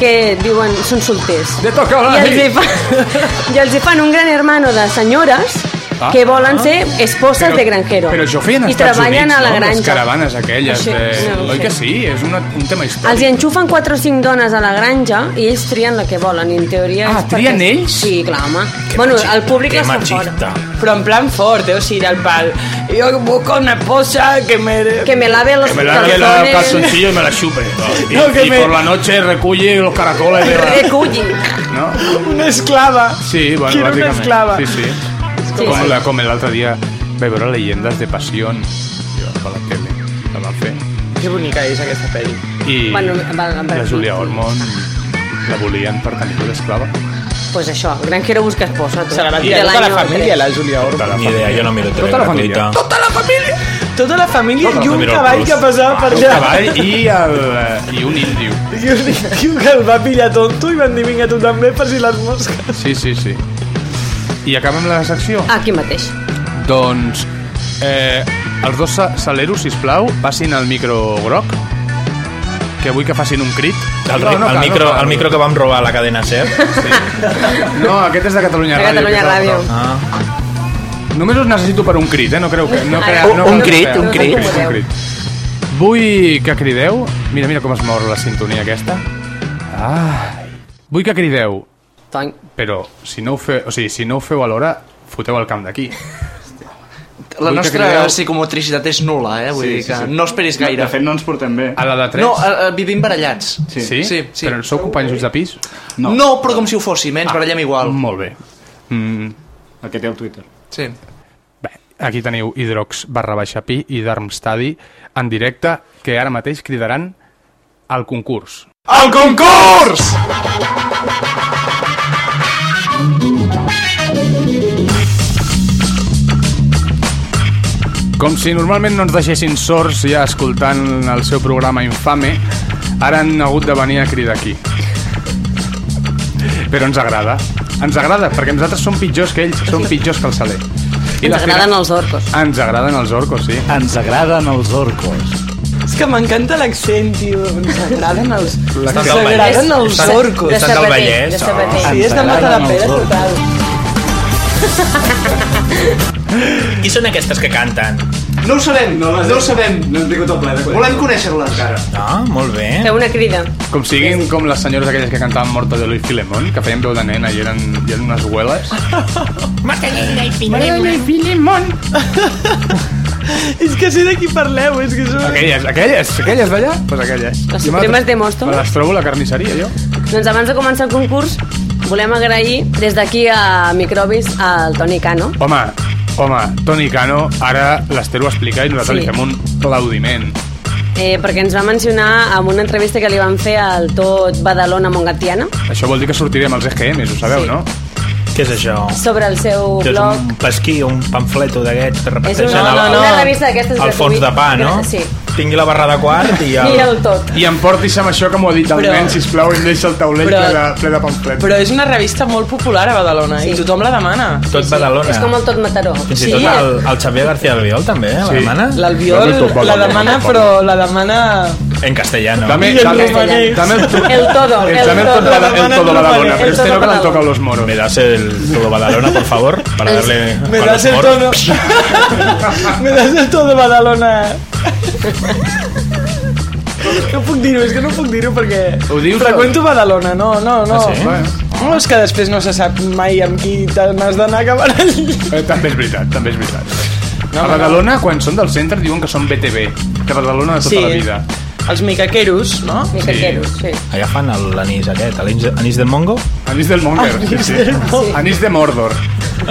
Speaker 3: que diuen són solters.
Speaker 1: De tocar
Speaker 3: I
Speaker 1: la
Speaker 3: els, hi
Speaker 1: nit.
Speaker 3: fan, I els hi fan un gran hermano de senyores
Speaker 1: Ah,
Speaker 3: que volen ser esposes
Speaker 1: Però-
Speaker 3: de granjero.
Speaker 1: Però això ho feien als
Speaker 3: I
Speaker 1: Estats
Speaker 3: treballen
Speaker 1: Units,
Speaker 3: a la
Speaker 1: no? Les
Speaker 3: granja.
Speaker 1: caravanes aquelles.
Speaker 3: Això,
Speaker 1: de...
Speaker 3: no ho
Speaker 1: Oi
Speaker 3: sé.
Speaker 1: que sí? És una, un tema
Speaker 3: Els hi
Speaker 1: històric.
Speaker 3: enxufen 4 o 5 dones a la granja i ells trien la que volen, i en teoria...
Speaker 1: Ah,
Speaker 3: és perquè-
Speaker 1: trien ells?
Speaker 3: Sí, clar, home. bueno,
Speaker 2: magi-
Speaker 3: el públic
Speaker 2: que
Speaker 3: les fa
Speaker 2: machista.
Speaker 3: fora.
Speaker 4: Però en plan fort, eh? O sigui, del pal. Jo busco una esposa que me...
Speaker 3: Que me lave los
Speaker 1: Me la que la
Speaker 3: calzones.
Speaker 1: calzoncillo y me la chupe. Y,
Speaker 4: No, que
Speaker 1: y
Speaker 4: me-
Speaker 1: por la noche reculle los caracoles de la...
Speaker 3: Reculli.
Speaker 1: No?
Speaker 4: Una esclava.
Speaker 1: Sí, bueno,
Speaker 4: Quiero una
Speaker 1: bàsicament.
Speaker 4: esclava.
Speaker 1: Sí, sí.
Speaker 3: Sí,
Speaker 1: com
Speaker 3: sí.
Speaker 1: la, com l'altre dia vaig veure Leyendas de Pasión jo, per la tele. La van fer.
Speaker 4: Que bonica és aquesta pel·li.
Speaker 1: I
Speaker 3: Bueno, va, va,
Speaker 1: la Julia Ormond la volien per tenir tota d'esclava.
Speaker 3: Pues això, el granjero busca esposa. tu.
Speaker 4: Se la va
Speaker 3: De
Speaker 4: tirar tota la
Speaker 3: l'any eh?
Speaker 4: família, la Julia Orr.
Speaker 1: Tota la
Speaker 2: Ni idea, jo no miro tele
Speaker 1: Tota la família.
Speaker 2: gratuïta.
Speaker 4: Tota la família
Speaker 2: Tota la
Speaker 4: i un
Speaker 2: família
Speaker 4: cavall
Speaker 2: Cruz.
Speaker 4: que passava per
Speaker 1: Un
Speaker 4: allà.
Speaker 1: cavall i, el, eh, i un índio.
Speaker 4: I un tio que el va pillar tonto i van dir vinga tu també per si les mosques.
Speaker 1: Sí, sí, sí. I acabem la secció?
Speaker 3: Aquí mateix.
Speaker 1: Doncs eh, els dos sa- saleros, si plau, passin al micro groc, que vull que facin un crit.
Speaker 2: El,
Speaker 1: No,
Speaker 2: ri-
Speaker 1: no
Speaker 2: el,
Speaker 1: cal,
Speaker 2: micro,
Speaker 1: no cal.
Speaker 2: el micro que vam robar a la cadena SER.
Speaker 1: No, aquest és de Catalunya
Speaker 3: De Catalunya
Speaker 1: Ràdio. aquest és el
Speaker 3: Ràdio.
Speaker 1: groc.
Speaker 2: Ah.
Speaker 1: Només us necessito per un crit, eh? No creu que... No
Speaker 3: Ara,
Speaker 1: crea, no
Speaker 3: un
Speaker 1: creu que
Speaker 3: crit,
Speaker 1: crea.
Speaker 3: un crit.
Speaker 1: Un crit. Vull que crideu... Mira, mira com es mor la sintonia aquesta. Ah. Vull que crideu,
Speaker 3: Tony.
Speaker 1: però si no ho feu, o sigui, si no ho feu alhora, foteu el camp d'aquí.
Speaker 8: La
Speaker 1: Vull que
Speaker 8: nostra
Speaker 1: crideu-
Speaker 8: psicomotricitat és nula, eh? Vull
Speaker 1: Sí,
Speaker 8: dir
Speaker 1: sí,
Speaker 8: que
Speaker 1: sí.
Speaker 8: no esperis gaire.
Speaker 5: De fet, no ens portem bé.
Speaker 1: A la de tres?
Speaker 8: No, eh, eh, vivim barallats.
Speaker 1: sí?
Speaker 8: Sí, sí.
Speaker 1: Però sou companys de pis? Ah,
Speaker 8: No.
Speaker 5: No.
Speaker 8: no, però com si ho fóssim, eh? Ens barallem igual.
Speaker 1: Molt bé. Mm,
Speaker 5: El que té el Twitter.
Speaker 8: Sí.
Speaker 1: bé. Aquí teniu Hidrox barra baixa pi i Darmstadi en directe, que ara mateix cridaran al concurs.
Speaker 2: El concurs!
Speaker 1: Com si normalment no ens deixessin sords ja escoltant el seu programa infame, ara han hagut de venir a cridar aquí. Però ens agrada. Ens agrada, perquè nosaltres som pitjors que ells, som pitjors que el Saler. I
Speaker 3: Ens
Speaker 1: la fina-
Speaker 3: agraden els orcos.
Speaker 1: Ens agraden els orcos, sí.
Speaker 5: Ens agraden els orcos.
Speaker 4: És que m'encanta l'accent, tio. Ens agraden els... Ens
Speaker 2: del Vallès.
Speaker 4: agraden els
Speaker 2: Estan-
Speaker 4: orcos.
Speaker 2: estan del Vallès,
Speaker 3: De
Speaker 2: oh.
Speaker 3: Sabater.
Speaker 4: Sí, és de
Speaker 5: agraden
Speaker 4: Matadepera
Speaker 5: els orcos.
Speaker 4: total.
Speaker 2: Qui són aquestes que canten?
Speaker 8: No ho sabem, no, no ho sabem.
Speaker 5: No hem tingut el ple de
Speaker 8: Volem conèixer-les.
Speaker 2: Ah, molt bé.
Speaker 3: Feu una crida.
Speaker 1: Com siguin com les senyores aquelles que cantaven Morta de Luis Filemón, que feien veu de nena i eren, i eren unes hueles.
Speaker 4: És que sé de qui parleu, és que són...
Speaker 1: Aquelles, aquelles, aquelles d'allà? Doncs pues aquelles.
Speaker 3: Les
Speaker 1: Jo me
Speaker 3: Supremes de Mosto.
Speaker 1: Me les trobo a la carnisseria, jo.
Speaker 3: Doncs abans de començar el concurs, volem agrair des d'aquí a Microbis al Toni Cano.
Speaker 1: Home, home, Toni Cano, ara l'Ester ho explica i
Speaker 3: Sí.
Speaker 1: nosaltres sí. li fem un aplaudiment.
Speaker 3: Eh, perquè ens va mencionar en una entrevista que li van fer al tot Badalona Montgatiana
Speaker 1: Això vol dir que sortirem als EGMs, ho
Speaker 3: Sí.
Speaker 1: sabeu, sí. no?
Speaker 2: Què és això?
Speaker 3: sobre el seu
Speaker 2: Que és
Speaker 3: blog.
Speaker 2: un pesquí, un pamfleto d'aquests que
Speaker 3: És una,
Speaker 2: reparteixen
Speaker 3: no, no, no.
Speaker 2: al,
Speaker 3: una revista d'aquestes
Speaker 2: al fons de pa, no?
Speaker 3: Sí.
Speaker 2: Oh. Tingui la barra de quart i el...
Speaker 3: I el tot.
Speaker 1: I em portis amb això que m'ho ha dit el
Speaker 4: Però-
Speaker 1: Però... nen, sisplau, i em deixa el taulell
Speaker 4: Però-
Speaker 1: ple, de, ple de pamflets.
Speaker 4: Però és una revista molt popular a Badalona
Speaker 3: Sí.
Speaker 4: i tothom la demana.
Speaker 2: Tot Badalona.
Speaker 3: És com el eh? tot Mataró.
Speaker 2: Fins i
Speaker 4: Sí.
Speaker 2: tot el, el Xavier García Albiol també, eh, la
Speaker 1: Sí.
Speaker 2: demana.
Speaker 4: L'Albiol
Speaker 1: No, no, tot
Speaker 4: la
Speaker 1: Badalona,
Speaker 4: demana,
Speaker 1: tampoc.
Speaker 4: però la demana
Speaker 2: En castellano.
Speaker 1: També, també,
Speaker 3: castellano.
Speaker 1: també el, to-
Speaker 3: El todo,
Speaker 1: el,
Speaker 3: el
Speaker 1: també el,
Speaker 3: todo.
Speaker 1: todo, el, el todo Badalona, pero
Speaker 3: El
Speaker 1: este
Speaker 3: todo
Speaker 1: no que l'han
Speaker 3: Badalona.
Speaker 1: tocado los moros.
Speaker 2: ¿Me das el todo Badalona, por favor? Para darle.
Speaker 4: Me
Speaker 2: a los
Speaker 4: das el
Speaker 2: moros?
Speaker 4: tono. Me das el to de Badalona. No puc dir-ho, és que no puc dir-ho perquè...
Speaker 1: Ho dius,
Speaker 4: Freqüento Badalona, no, no, no.
Speaker 2: Ah, sí?
Speaker 1: Bueno.
Speaker 4: No, és que després no se sap mai amb qui te n'has d'anar cap a
Speaker 1: Eh, també és veritat, també és veritat. a Badalona, quan són del centre, diuen que són BTV, de Badalona de tota la vida.
Speaker 4: Els micaqueros, no?
Speaker 3: Micaqueros, sí.
Speaker 2: Allà fan el- l'anís aquest, l'anís anís del mongo?
Speaker 1: Anís del Monger, sí, sí. Anís de Mordor.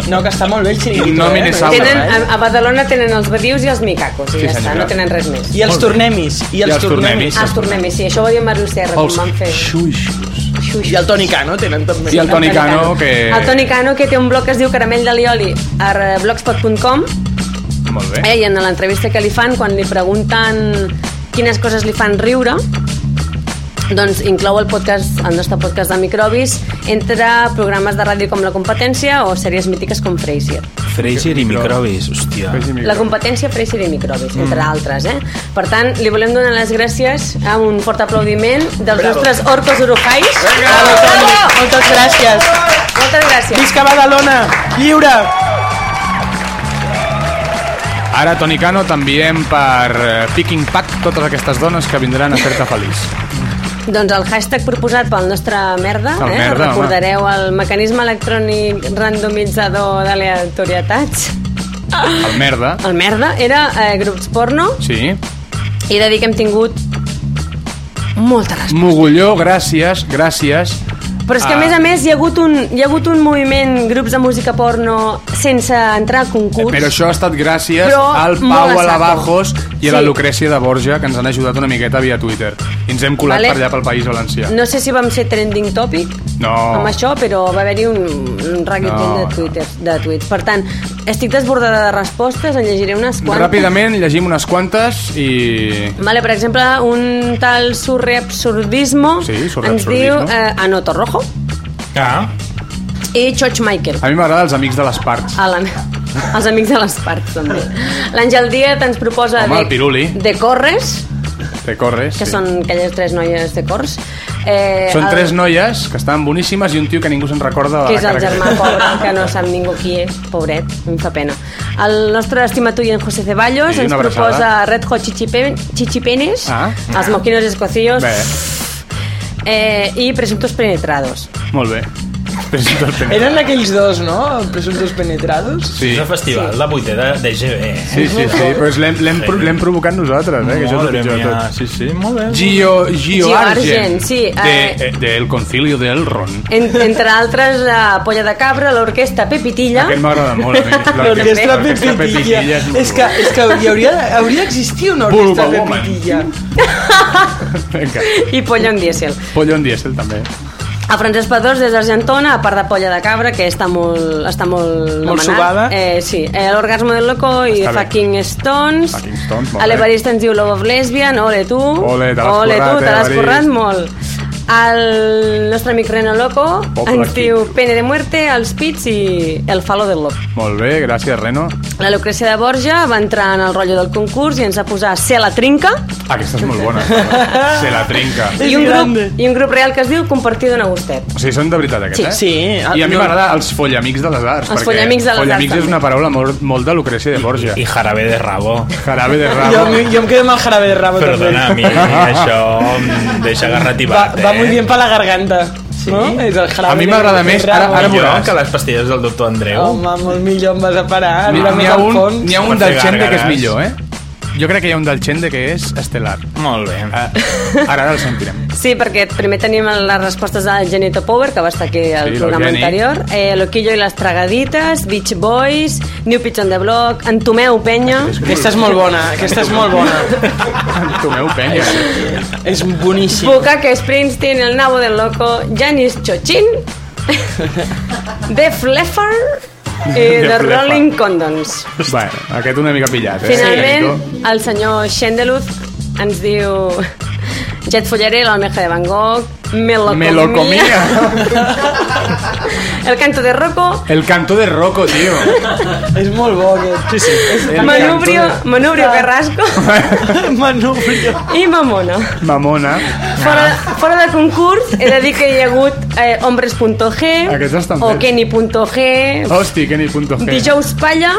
Speaker 4: No, que està molt bé el eh? xiringuito.
Speaker 1: No mini
Speaker 4: però-
Speaker 1: samba.
Speaker 3: Eh, Tenen, a, a Badalona tenen els badius i els micacos, i
Speaker 1: Sí,
Speaker 3: ja està,
Speaker 1: senyora.
Speaker 3: no tenen res més.
Speaker 4: I els tornemis. I els,
Speaker 1: els tornemis.
Speaker 4: tornemis.
Speaker 3: Ah, els tornem, sí, això ho va dir en Màrius Serra,
Speaker 1: Els
Speaker 3: com van fer.
Speaker 1: xuixos.
Speaker 4: I el Toni Cano tenen també.
Speaker 1: I el Toni Cano, que...
Speaker 3: El Toni Cano, que té un blog que es diu Caramell de Lioli a blogspot.com
Speaker 1: Molt bé.
Speaker 3: eh, i en l'entrevista que li fan, quan li pregunten quines coses li fan riure, doncs inclou el podcast, el nostre podcast de microbis entre programes de ràdio com La Competència o sèries mítiques com Frasier.
Speaker 2: Fraser i microbis, hòstia.
Speaker 3: La competència Fraser i Microbis,
Speaker 4: Mm.
Speaker 3: entre altres, eh? Per tant, li volem donar les gràcies a un fort aplaudiment dels nostres orcos orofais.
Speaker 4: Bravo, Toni. Moltes gràcies.
Speaker 3: Moltes gràcies.
Speaker 4: Visca Badalona! Lliure!
Speaker 1: Ara, Toni Cano, t'enviem per eh, Picking Pack totes aquestes dones que vindran a fer-te feliç.
Speaker 3: Doncs el hashtag proposat pel nostre merda,
Speaker 1: El
Speaker 3: eh?
Speaker 1: merda,
Speaker 3: recordareu el mecanisme electrònic randomitzador d'aleatorietats,
Speaker 1: El merda.
Speaker 3: el merda, era eh, grups porno
Speaker 1: Sí.
Speaker 3: i he de dir que hem tingut molta resposta.
Speaker 1: Mogulló, gràcies, gràcies. Ah,
Speaker 3: Però és que, a més a més, hi ha, hagut un, hi ha hagut un moviment, grups de música porno, sense entrar a concurs.
Speaker 1: Però això ha estat gràcies
Speaker 3: Però
Speaker 1: al
Speaker 3: molt
Speaker 1: Pau
Speaker 3: a saco.
Speaker 1: Alabajos i a la
Speaker 3: Sí.
Speaker 1: Lucrècia de Borja, que ens han ajudat una miqueta via Twitter. I ens hem colat
Speaker 3: Vale.
Speaker 1: per allà pel País Valencià.
Speaker 3: No sé si vam ser trending topic
Speaker 1: No.
Speaker 3: amb això, però va haver-hi un, un reguitzell
Speaker 1: No,
Speaker 3: de, Twitter, de tuits. Per tant, estic desbordada de respostes, en llegiré unes quantes.
Speaker 1: Ràpidament llegim unes quantes i...
Speaker 3: Vale, per exemple, un tal surreabsurdismo
Speaker 1: Sí,
Speaker 3: ens
Speaker 1: surreabsurdismo.
Speaker 3: diu eh, Anoto Rojo
Speaker 2: Ah,
Speaker 3: i Choch Michael.
Speaker 1: A mi m'agrada els amics de les parts.
Speaker 3: A la, els amics de les parts, també. L'Àngel Díaz ens proposa
Speaker 1: Home, el piruli.
Speaker 3: de, de corres,
Speaker 1: Te corres.
Speaker 3: que
Speaker 1: sí.
Speaker 3: són aquelles tres noies de cors. Eh,
Speaker 1: Són
Speaker 3: el-
Speaker 1: tres noies que estan boníssimes i un tio que ningú se'n recorda de
Speaker 3: que
Speaker 1: la
Speaker 3: és el
Speaker 1: cara
Speaker 3: germà pobre, que no sap ningú qui és, pobret, em fa pena. El nostre estimat oient José Ceballos
Speaker 1: Sí,
Speaker 3: ens
Speaker 1: una abraçada.
Speaker 3: proposa Red Hot Chichipe- Chichipenes,
Speaker 1: Ah.
Speaker 3: els moquinos escocillos
Speaker 1: Bé,
Speaker 3: eh, i presuntos penetrados.
Speaker 1: molt bé. Presento el primer.
Speaker 4: Eren aquells dos, no? Presuntos penetrados.
Speaker 1: Sí.
Speaker 2: és el festival, la vuitena de eh? GB.
Speaker 1: Sí, sí, sí, però és l'hem- l'hem pro- l'hem provocat nosaltres, eh, que això és el
Speaker 2: Madre
Speaker 1: pitjor de
Speaker 2: mia,
Speaker 1: tot.
Speaker 2: Sí, sí, molt bé.
Speaker 1: Gio, Gio,
Speaker 3: Gio
Speaker 1: Argent,
Speaker 3: Argent, sí, eh.
Speaker 1: de, eh, del concilio de Elron.
Speaker 3: En, entre altres, la Polla de Cabra, l'orquestra Pepitilla...
Speaker 1: Aquest m'agrada molt, a
Speaker 4: L'orquestra
Speaker 1: mi. l'orquestra
Speaker 4: Pepitilla.
Speaker 1: Pepitilla molt
Speaker 4: És que,
Speaker 1: bona.
Speaker 4: és que hi hauria, hauria d'existir una orquestra
Speaker 1: Vulva Woman.
Speaker 4: Pepitilla.
Speaker 1: Vinga.
Speaker 3: I Polla en Diesel.
Speaker 1: Pollo en Diesel, també.
Speaker 3: A Francesc Padós, des d'Argentona, a part de Polla de Cabra, que està molt, està molt,
Speaker 4: Molt
Speaker 3: demanat.
Speaker 4: subada.
Speaker 3: Eh, sí, eh, l'Orgasmo del Loco i
Speaker 1: Està bé.
Speaker 3: Fucking Stones.
Speaker 1: Fucking Stones, Doncs molt
Speaker 3: A l'Evarista ens diu Love of Lesbian, ole tu.
Speaker 1: Ole, te l'has
Speaker 3: ole tu,
Speaker 1: currat, eh,
Speaker 3: te l'has
Speaker 1: Evarist.
Speaker 3: currat molt. El nostre amic Reno Loco
Speaker 1: Poble
Speaker 3: ens
Speaker 1: aquí.
Speaker 3: diu Pene de Muerte, Els Pits i El Falo del Loco.
Speaker 1: Molt bé, gràcies, Reno.
Speaker 3: La Lucrecia de Borja va entrar en el rotllo del concurs i ens va posar Ser la trinca
Speaker 1: Ah, Aquesta és molt bona. Se la trinca.
Speaker 4: És
Speaker 3: i un,
Speaker 4: grande.
Speaker 3: grup, i un grup real que es diu Compartido en Agustet.
Speaker 1: O sigui, són de veritat aquests,
Speaker 4: Sí,
Speaker 1: eh?
Speaker 4: sí. Ah,
Speaker 1: I a mi
Speaker 4: No.
Speaker 1: m'agrada els follamics de les
Speaker 3: Els
Speaker 1: arts. perquè
Speaker 3: follamics de les arts,
Speaker 1: Follamics és
Speaker 3: també.
Speaker 1: una paraula molt, molt de Lucrècia de Borja.
Speaker 2: I jarabe de rabo.
Speaker 1: Jarabe de
Speaker 4: Jo,
Speaker 1: rabo.
Speaker 4: jo em quedo amb el jarabe de rabo,
Speaker 2: Perdona, a mi això em deixa
Speaker 4: Va,
Speaker 2: garrativat, eh?
Speaker 4: va muy bien pa la garganta. Sí? No? És el jarabe
Speaker 1: A mi
Speaker 4: de-
Speaker 1: m'agrada
Speaker 4: de
Speaker 1: més, ara-
Speaker 4: rabo.
Speaker 1: ara m'ho-
Speaker 2: Millor que les pastilles del doctor Andreu.
Speaker 4: Home, molt millor em vas a parar.
Speaker 1: N'hi
Speaker 4: Mira
Speaker 1: n'hi
Speaker 4: més
Speaker 1: ha
Speaker 4: al
Speaker 1: un,
Speaker 4: fons.
Speaker 1: n'hi ha
Speaker 2: Per
Speaker 1: un
Speaker 2: fer
Speaker 1: del Xende que és
Speaker 2: gàrgares.
Speaker 1: millor, eh? Jo crec que hi ha un del Xende que és estel·lar.
Speaker 2: Molt bé.
Speaker 1: Ah, ara ara el sentirem.
Speaker 3: Sí, perquè primer tenim les respostes del Genito Power, que va estar aquí al
Speaker 1: Sí,
Speaker 3: sí, programa
Speaker 1: l'Eugeni.
Speaker 3: anterior, eh, Loquillo i les Tragadites, Beach Boys, New Kids on the Block, Entomeu Penya...
Speaker 4: Aquesta és molt bona, aquesta és molt bona.
Speaker 1: Tomeu penya.
Speaker 4: Ah, és boníssima.
Speaker 3: Buca, que Springsteen, El Nabo del Loco, Janis Chochin, Def Leppard i
Speaker 1: Def
Speaker 3: The
Speaker 1: Leppard.
Speaker 3: Rolling Condons.
Speaker 1: Bueno, aquest una mica pillat, eh?
Speaker 3: Finalment, el senyor Xendeluz ens diu... Ja et follaré la oneja de Van Gogh, Melocomia,
Speaker 1: Melocomia.
Speaker 3: El canto de Rocco,
Speaker 1: El canto de Rocco, tío.
Speaker 4: És molt bo, aquest. Sí, sí.
Speaker 3: Manubrio, Manubrio Carrasco
Speaker 4: Manubrio.
Speaker 3: i Mamona.
Speaker 1: Mamona.
Speaker 3: Fora, fora de concurs, he de dir que hi ha hagut eh,
Speaker 1: Aquests
Speaker 3: Hombres.g
Speaker 1: estan
Speaker 3: o
Speaker 1: fets.
Speaker 3: Kenny.g,
Speaker 1: Hosti, que ni punto G.
Speaker 3: Dijous palla.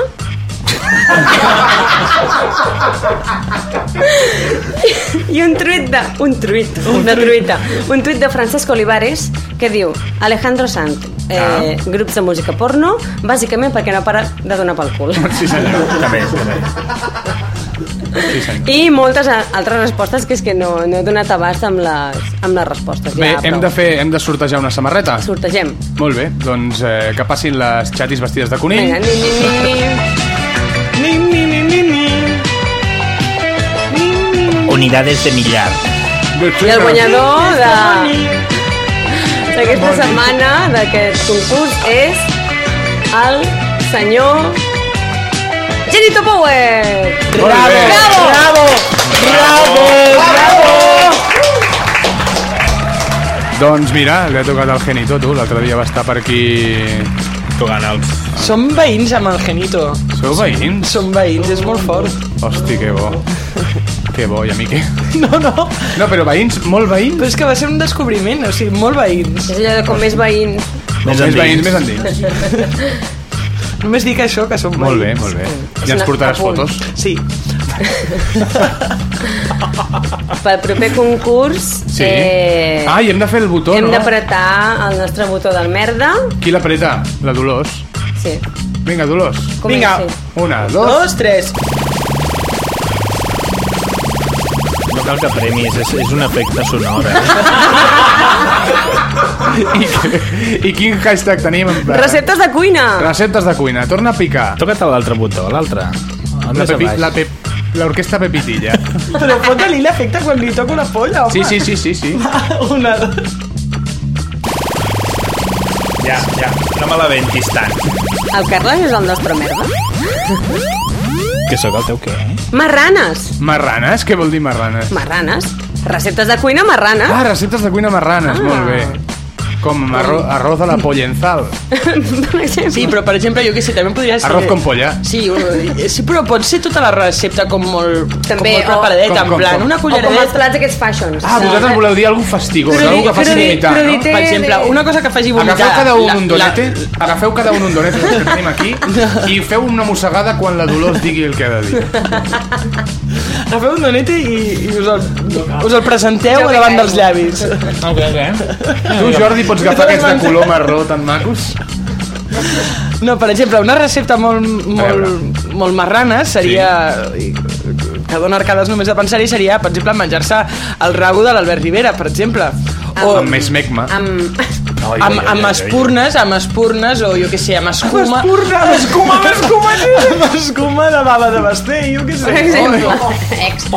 Speaker 3: I un truit de... Un truit, una truita. Un truit de Francesc Olivares que diu Alejandro Sant, eh, grups de música porno, bàsicament perquè no para de donar pel cul.
Speaker 1: Sí, senyor. També, també.
Speaker 3: I moltes a- altres respostes que és que no, no he donat abast amb les, amb les respostes.
Speaker 1: Bé,
Speaker 3: ja,
Speaker 1: hem
Speaker 3: prou.
Speaker 1: de, fer, hem de sortejar una samarreta.
Speaker 3: Sortegem.
Speaker 1: Molt bé, doncs eh, que passin les xatis vestides de conill.
Speaker 3: Vinga, ni, ni, ni, ni. Ni, ni, ni, ni, ni. Ni, ni, ni.
Speaker 2: Unidades de millar.
Speaker 3: I el guanyador de d'aquesta setmana, d'aquest concurs, és el senyor Genito Power!
Speaker 1: Bravo!
Speaker 3: Bravo! Bravo!
Speaker 1: Doncs mira, li ha tocat el genito, tu. L'altre dia va estar per aquí...
Speaker 2: Tocant els...
Speaker 4: Som veïns amb el Genito.
Speaker 1: Sou veïns?
Speaker 4: Som veïns, és molt fort.
Speaker 1: Hosti, que bo. Que bo, i a mi què?
Speaker 4: No, no,
Speaker 1: No, però veïns, molt veïns.
Speaker 4: però és que va ser un descobriment, o sigui, molt veïns.
Speaker 3: És allò de com més veïn.
Speaker 1: Com més veïns, més endins.
Speaker 4: Només dic això, que som veïns.
Speaker 1: Molt bé, molt bé.
Speaker 4: Mm.
Speaker 1: Ja ens
Speaker 3: una-
Speaker 1: portaràs
Speaker 3: a punt.
Speaker 1: fotos.
Speaker 4: Sí,
Speaker 3: Pel proper concurs
Speaker 1: Sí.
Speaker 3: eh,
Speaker 1: Ah, i hem de fer el botó,
Speaker 3: hem
Speaker 1: no?
Speaker 3: d'apretar el nostre botó del merda.
Speaker 1: Qui l'apreta? La Dolors.
Speaker 3: Sí.
Speaker 1: Vinga, Dolors.
Speaker 3: Comença.
Speaker 4: Vinga.
Speaker 1: Una, dos...
Speaker 4: dos, tres.
Speaker 2: No cal que premis, és, és un efecte sonor. Eh?
Speaker 1: I quin hashtag tenim? en plan?
Speaker 3: Receptes de cuina!
Speaker 1: Receptes de cuina. Torna a picar.
Speaker 2: Toca't l'altre botó, l'altre. El
Speaker 1: La
Speaker 2: més a
Speaker 1: pepi,
Speaker 2: baix.
Speaker 1: la pep, l'orquestra Pepitilla.
Speaker 4: Però fota-li l'efecte quan li toca una polla, home.
Speaker 1: Sí, sí, sí, sí, sí.
Speaker 4: Una, dos.
Speaker 2: Ja, ja. No me la ventis tant.
Speaker 3: El Carles és el nostre merda.
Speaker 2: Que sóc el teu què?
Speaker 3: Marranes!
Speaker 1: Marranes? Què vol dir marranes?
Speaker 3: Marranes. Receptes de cuina marrana.
Speaker 1: Ah, receptes de cuina marranes,
Speaker 3: Ah.
Speaker 1: molt bé. Com arro, arroz a la pollenzal.
Speaker 3: Per exemple.
Speaker 4: Sí, però per exemple, jo què sé, també podria ser...
Speaker 1: Arroz con polla.
Speaker 4: Sí, un- sí, però pot ser tota la recepta com molt,
Speaker 3: També,
Speaker 4: com molt
Speaker 3: o-
Speaker 4: preparadeta,
Speaker 1: Com- com-
Speaker 4: en plan,
Speaker 1: com.
Speaker 4: una
Speaker 3: O com els
Speaker 4: culleradeta...
Speaker 3: plats aquests fashions.
Speaker 1: Ah, vosaltres voleu dir alguna fastigós,
Speaker 3: Però
Speaker 1: alguna
Speaker 3: di-
Speaker 1: que faci
Speaker 3: però di-
Speaker 1: vomitar,
Speaker 3: però
Speaker 1: no?
Speaker 3: dite-
Speaker 4: Per exemple, una cosa que faci vomitar...
Speaker 1: Agafeu cada un
Speaker 4: la-
Speaker 1: un
Speaker 4: la-
Speaker 1: donete, agafeu cada un un donete que tenim aquí i feu una mossegada quan la Dolors digui el que ha de dir.
Speaker 4: Agafeu un donete i, i us, el, us el presenteu
Speaker 3: Jo
Speaker 4: a
Speaker 3: vinc
Speaker 4: davant
Speaker 3: aigua.
Speaker 4: dels llavis.
Speaker 2: Ok,
Speaker 3: eh?
Speaker 2: ok.
Speaker 1: Tu, Jordi, pots agafar aquests de color marró tan macos?
Speaker 4: No, per exemple, una recepta molt, molt,
Speaker 1: veure.
Speaker 4: molt marrana seria... Sí. Que dona arcades només de pensar-hi seria, per exemple, menjar-se el rabo de l'Albert Rivera, per exemple. O
Speaker 1: Amb més mecma.
Speaker 3: Amb...
Speaker 4: amb, amb espurnes, amb espurnes, o jo què sé, amb escuma...
Speaker 2: Espurna, escuma, escuma,
Speaker 4: Amb escuma de baba de basté, jo què
Speaker 3: Per exemple. Ex.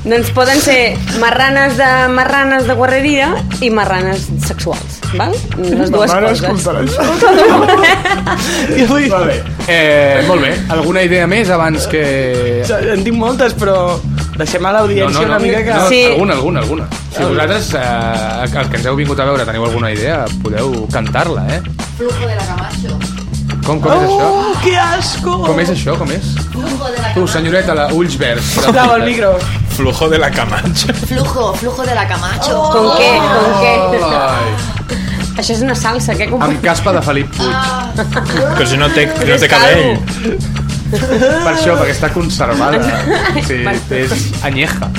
Speaker 3: doncs poden ser marranes de marranes de guarreria i marranes sexuals, val? Les dues coses.
Speaker 4: Vale.
Speaker 1: Eh, molt bé. Alguna idea més abans que...
Speaker 4: En tinc moltes, però deixem a l'audiència una mica que...
Speaker 1: no,
Speaker 3: Sí.
Speaker 1: alguna, alguna, alguna. Si vosaltres, eh, els que ens heu vingut a veure, teniu alguna idea, podeu cantar-la, eh?
Speaker 7: Flujo de la Camacho.
Speaker 1: Com, com és això?
Speaker 4: Oh, que asco!
Speaker 1: Com és això? Com és?
Speaker 7: Flujo de la
Speaker 1: Tu,
Speaker 7: Camacho.
Speaker 1: senyoreta, la, ulls verds.
Speaker 4: Dava el micro.
Speaker 2: Flujo de la camanxa.
Speaker 7: Flujo, flujo de la Camacho.
Speaker 3: Com què? Com què?
Speaker 1: Ai,
Speaker 3: Això és una salsa, què compro?
Speaker 1: Oh. amb caspa de Felip Puig.
Speaker 2: Que si no té, no té
Speaker 3: És
Speaker 2: cabell.
Speaker 1: Per això, perquè està conservada. Sí, és anyeja.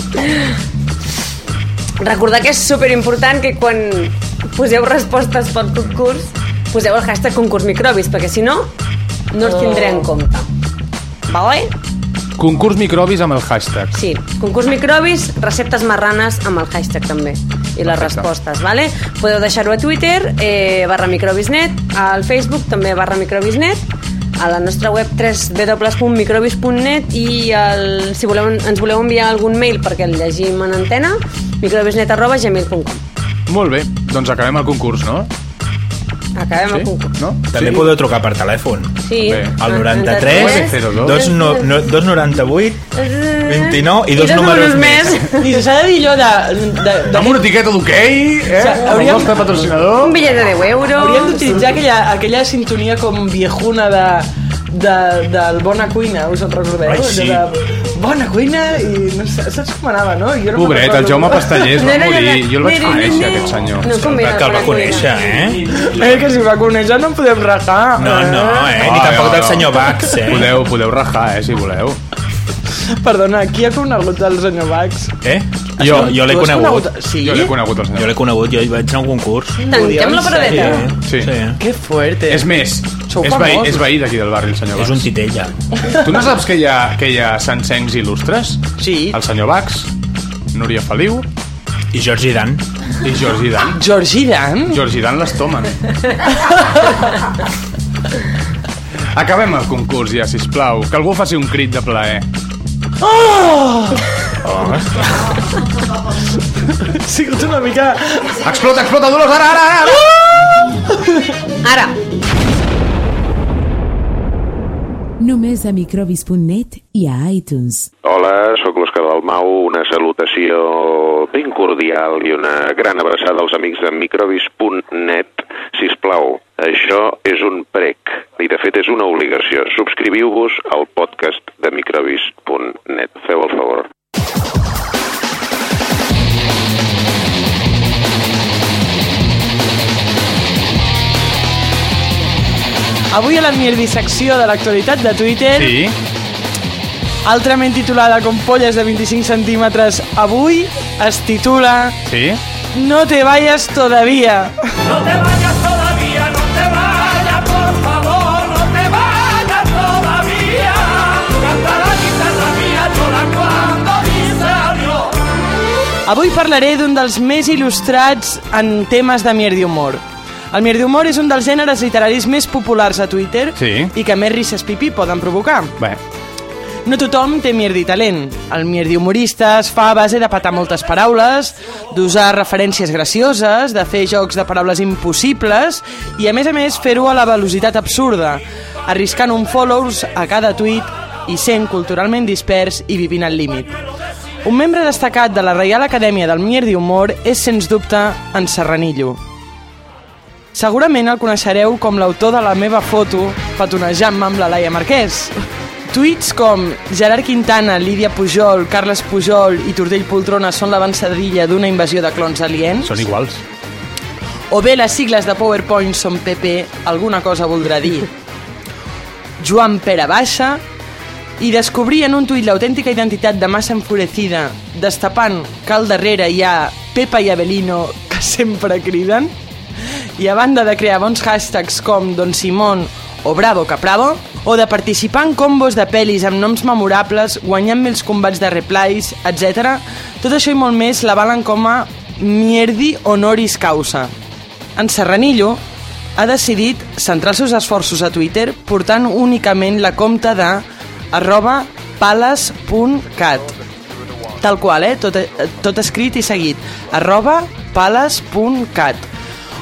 Speaker 3: Recordar que és superimportant que quan poseu respostes pel concurs poseu el hashtag concurs microbis, perquè si no, no els tindré en compte. Vale?
Speaker 1: Concurs microbis amb el hashtag.
Speaker 3: Sí, concurs microbis, receptes marranes amb el hashtag també i les
Speaker 1: Perfecte.
Speaker 3: respostes, vale? Podeu deixar-ho a Twitter, eh, barra microbisnet, al Facebook també barra microbisnet, a la nostra web www.microbis.net i el, si voleu, ens voleu enviar algun mail perquè el llegim en antena, microbisnet arroba gmail.com.
Speaker 1: Molt bé, doncs acabem el concurs, no?
Speaker 3: Acabem el concurs.
Speaker 1: No?
Speaker 2: També podeu trucar per telèfon.
Speaker 3: Sí.
Speaker 1: Bé,
Speaker 2: El 93,
Speaker 1: 02,
Speaker 2: 298, 298 29 i dos números més.
Speaker 4: I s'ha de dir allò de... de, de
Speaker 1: Amb una etiqueta d'hoquei, eh?
Speaker 4: sigui,
Speaker 1: Amb el
Speaker 4: hauríem-
Speaker 1: nostre patrocinador.
Speaker 3: Un bitllet de 10 euros.
Speaker 4: hauríem d'utilitzar aquella, aquella sintonia com viejuna de, de, del Bona Cuina, us en recordeu?
Speaker 2: Ai, sí.
Speaker 4: Allò De, bona Cuina i no sé, saps com anava, no? Jo no me'n
Speaker 1: Pobret, el
Speaker 4: recordo.
Speaker 1: Jaume Pastellers va
Speaker 3: No, no, no,
Speaker 1: morir.
Speaker 3: no.
Speaker 1: Jo el vaig
Speaker 3: No, no, no,
Speaker 1: conèixer,
Speaker 3: no.
Speaker 1: aquest senyor.
Speaker 3: No combina
Speaker 2: Que el va
Speaker 3: amb la
Speaker 2: conèixer,
Speaker 3: cuina.
Speaker 2: eh?
Speaker 4: Eh, que si ho va conèixer no en podem rajar.
Speaker 2: No, no, eh? Ni
Speaker 1: Ah,
Speaker 2: tampoc
Speaker 1: no,
Speaker 2: del
Speaker 1: no.
Speaker 2: senyor Bax, eh?
Speaker 1: Podeu, podeu rajar, eh, si voleu.
Speaker 4: Perdona, qui ha conegut el senyor Bax?
Speaker 2: Eh?
Speaker 1: Jo.
Speaker 2: Jo, jo l'he
Speaker 4: Tu has
Speaker 2: conegut.
Speaker 4: Sí?
Speaker 1: Jo l'he conegut, el
Speaker 2: Jo
Speaker 1: senyor.
Speaker 2: l'he conegut, jo hi vaig anar a un concurs.
Speaker 3: Tanquem la paradeta.
Speaker 1: Sí.
Speaker 4: Que fuerte.
Speaker 1: És més,
Speaker 4: Sou
Speaker 1: és veí,
Speaker 4: famosos.
Speaker 1: és veí d'aquí del barri, el senyor
Speaker 2: És un
Speaker 1: Bax.
Speaker 2: titella.
Speaker 1: Tu no saps que hi ha, que hi ha sancencs il·lustres?
Speaker 4: Sí.
Speaker 1: El senyor Bax, Núria Feliu
Speaker 2: I Jordi Dan.
Speaker 1: i Jordi Dan.
Speaker 4: Georgie Dan?
Speaker 1: Jordi Dan les tomen. Acabem el concurs ja, sisplau. Que algú faci un crit de plaer. Ah!
Speaker 4: Ha sigut una mica...
Speaker 1: Explota, explota, Dolors, ara, ara, ara!
Speaker 3: Ara,
Speaker 6: Només a microbis.net i a iTunes.
Speaker 9: Hola, sóc l'Òscar Dalmau, una salutació ben cordial i una gran abraçada als amics de microbis.net. Sisplau, això és un prec i de fet és una obligació. Subscriviu-vos al podcast de microbis.net. Feu el favor.
Speaker 4: Avui a la mierdissecció de l'actualitat de Twitter,
Speaker 1: Sí,
Speaker 4: altrament titulada com polles de 25 centímetres avui, es titula
Speaker 1: sí.
Speaker 4: No te vayas todavía. Avui parlaré d'un dels més il·lustrats en temes de mierdi humor. El mierdi humor és un dels gèneres literaris més populars a Twitter
Speaker 1: Sí.
Speaker 4: i que més risques pipí poden provocar.
Speaker 1: Bé,
Speaker 4: No tothom té mierdi talent. El mierdi humorista es fa a base de patar moltes paraules, d'usar referències gracioses, de fer jocs de paraules impossibles i, a més a més, fer-ho a la velocitat absurda, arriscant un follows a cada tuit i sent culturalment dispers i vivint al límit. Un membre destacat de la Reial Acadèmia del Mierdi Humor és, sens dubte, en Serranillo. Segurament el coneixereu com l'autor de la meva foto petonejant-me amb la Laia Marquès. Tuits com Gerard Quintana, Lídia Pujol, Carles Pujol i Tordell Poltrona són l'avançadilla d'una invasió de clons aliens,
Speaker 1: són iguals.
Speaker 4: o bé les sigles de PowerPoint són PP, alguna cosa voldrà dir. Joan Pere Baixa, i descobrir en un tuit l'autèntica identitat de massa enfurecida, destapant que al darrere hi ha Pepa i Abelino, que sempre criden, i a banda de crear bons hashtags com Don Simón o Bravo Capravo, o de participar en combos de pel·lis amb noms memorables, guanyant mils combats de replies, etc. Tot això i molt més l'avalen com a mierdi honoris causa. En Serranillo ha decidit centrar els seus esforços a Twitter portant únicament la compta de arroba pales.cat tal qual, eh? Tot, eh, tot escrit i seguit. Arroba pales.cat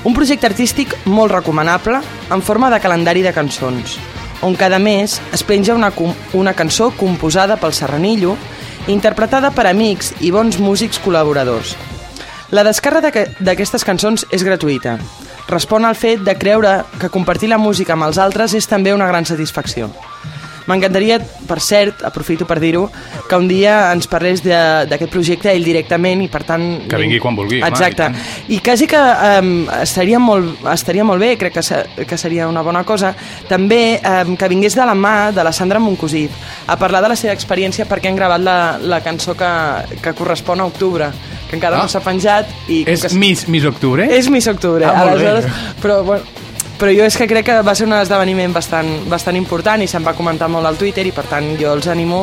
Speaker 4: Un projecte artístic molt recomanable en forma de calendari de cançons, on cada mes es penja una, com- una cançó composada pel Serranillo, interpretada per amics i bons músics col·laboradors. La descàrrega d'aqu- d'aquestes cançons és gratuïta. Respon al fet de creure que compartir la música amb els altres és també una gran satisfacció. M'encantaria, per cert, aprofito per dir-ho, que un dia ens parlés de- d'aquest projecte ell directament i, per tant...
Speaker 1: Que vingui quan vulgui, home,
Speaker 4: Exacte.
Speaker 1: i tant.
Speaker 4: I quasi que um, estaria, molt, estaria molt bé, crec que, se, que seria una bona cosa, també um, que vingués de la mà de la Sandra Moncosí a parlar de la seva experiència perquè han gravat la, la cançó que, que correspon a Octubre, que encara
Speaker 1: Ah.
Speaker 4: ah. no s'ha penjat. I com
Speaker 1: És
Speaker 4: que s-
Speaker 1: Miss, Miss Octubre?
Speaker 4: És Miss Octubre.
Speaker 1: Ah, molt bé.
Speaker 4: Aleshores, però, bueno, però jo és que crec que va ser un esdeveniment bastant, bastant important i se'n va comentar molt al Twitter i per tant jo els animo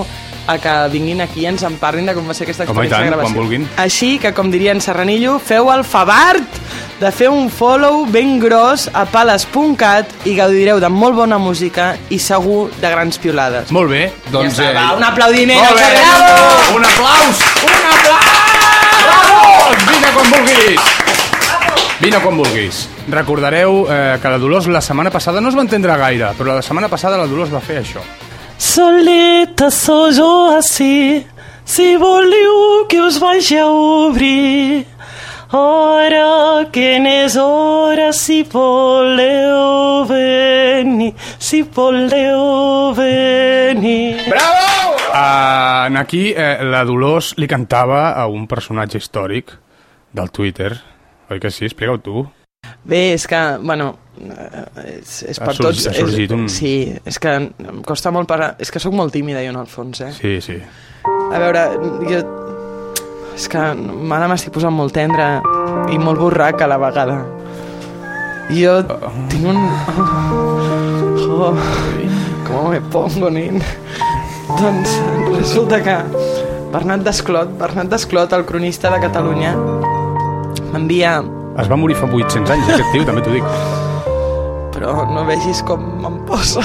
Speaker 4: a que vinguin aquí i ens en parlin de com va ser aquesta
Speaker 1: Home, i
Speaker 4: experiència
Speaker 1: tant,
Speaker 4: de gravació.
Speaker 1: quan vulguin.
Speaker 4: Així que, com diria en Serranillo, feu el favart de fer un follow ben gros a pales.cat i gaudireu de molt bona música i segur de grans piolades.
Speaker 1: Molt bé, doncs...
Speaker 4: Ja està, va, un aplaudiment
Speaker 1: Molt
Speaker 4: al
Speaker 1: bé.
Speaker 4: Serrano.
Speaker 1: Un aplaus! Un aplaus! Vine quan vulguis! Vine quan vulguis. Recordareu eh, que la Dolors la setmana passada no es va entendre gaire, però la setmana passada la Dolors va fer això.
Speaker 10: Soleta sóc jo així, si voleu que us vagi a obrir. Ora que n'és hora, si voleu venir, si voleu venir.
Speaker 1: Bravo! Uh, aquí eh, la Dolors li cantava a un personatge històric del Twitter. Oi que sí? Explica-ho tu.
Speaker 4: Bé, és que, bueno, eh, és, és
Speaker 1: Ha
Speaker 4: per
Speaker 1: sorg-
Speaker 4: tots...
Speaker 1: ha sorgit
Speaker 4: és,
Speaker 1: un-
Speaker 4: Sí, és que em costa molt parlar... És que sóc molt tímida jo en el fons, eh?
Speaker 1: Sí, sí.
Speaker 4: A veure, jo... És que ara m'estic posant molt tendra i molt borraca a la vegada. Jo tinc un... Oh, com me pongo, nen? Doncs resulta que Bernat Desclot, Bernat Desclot, el cronista de Catalunya, m'envia...
Speaker 1: Es va morir fa 800 anys, aquest tio, també t'ho dic.
Speaker 4: Però no vegis com em posa.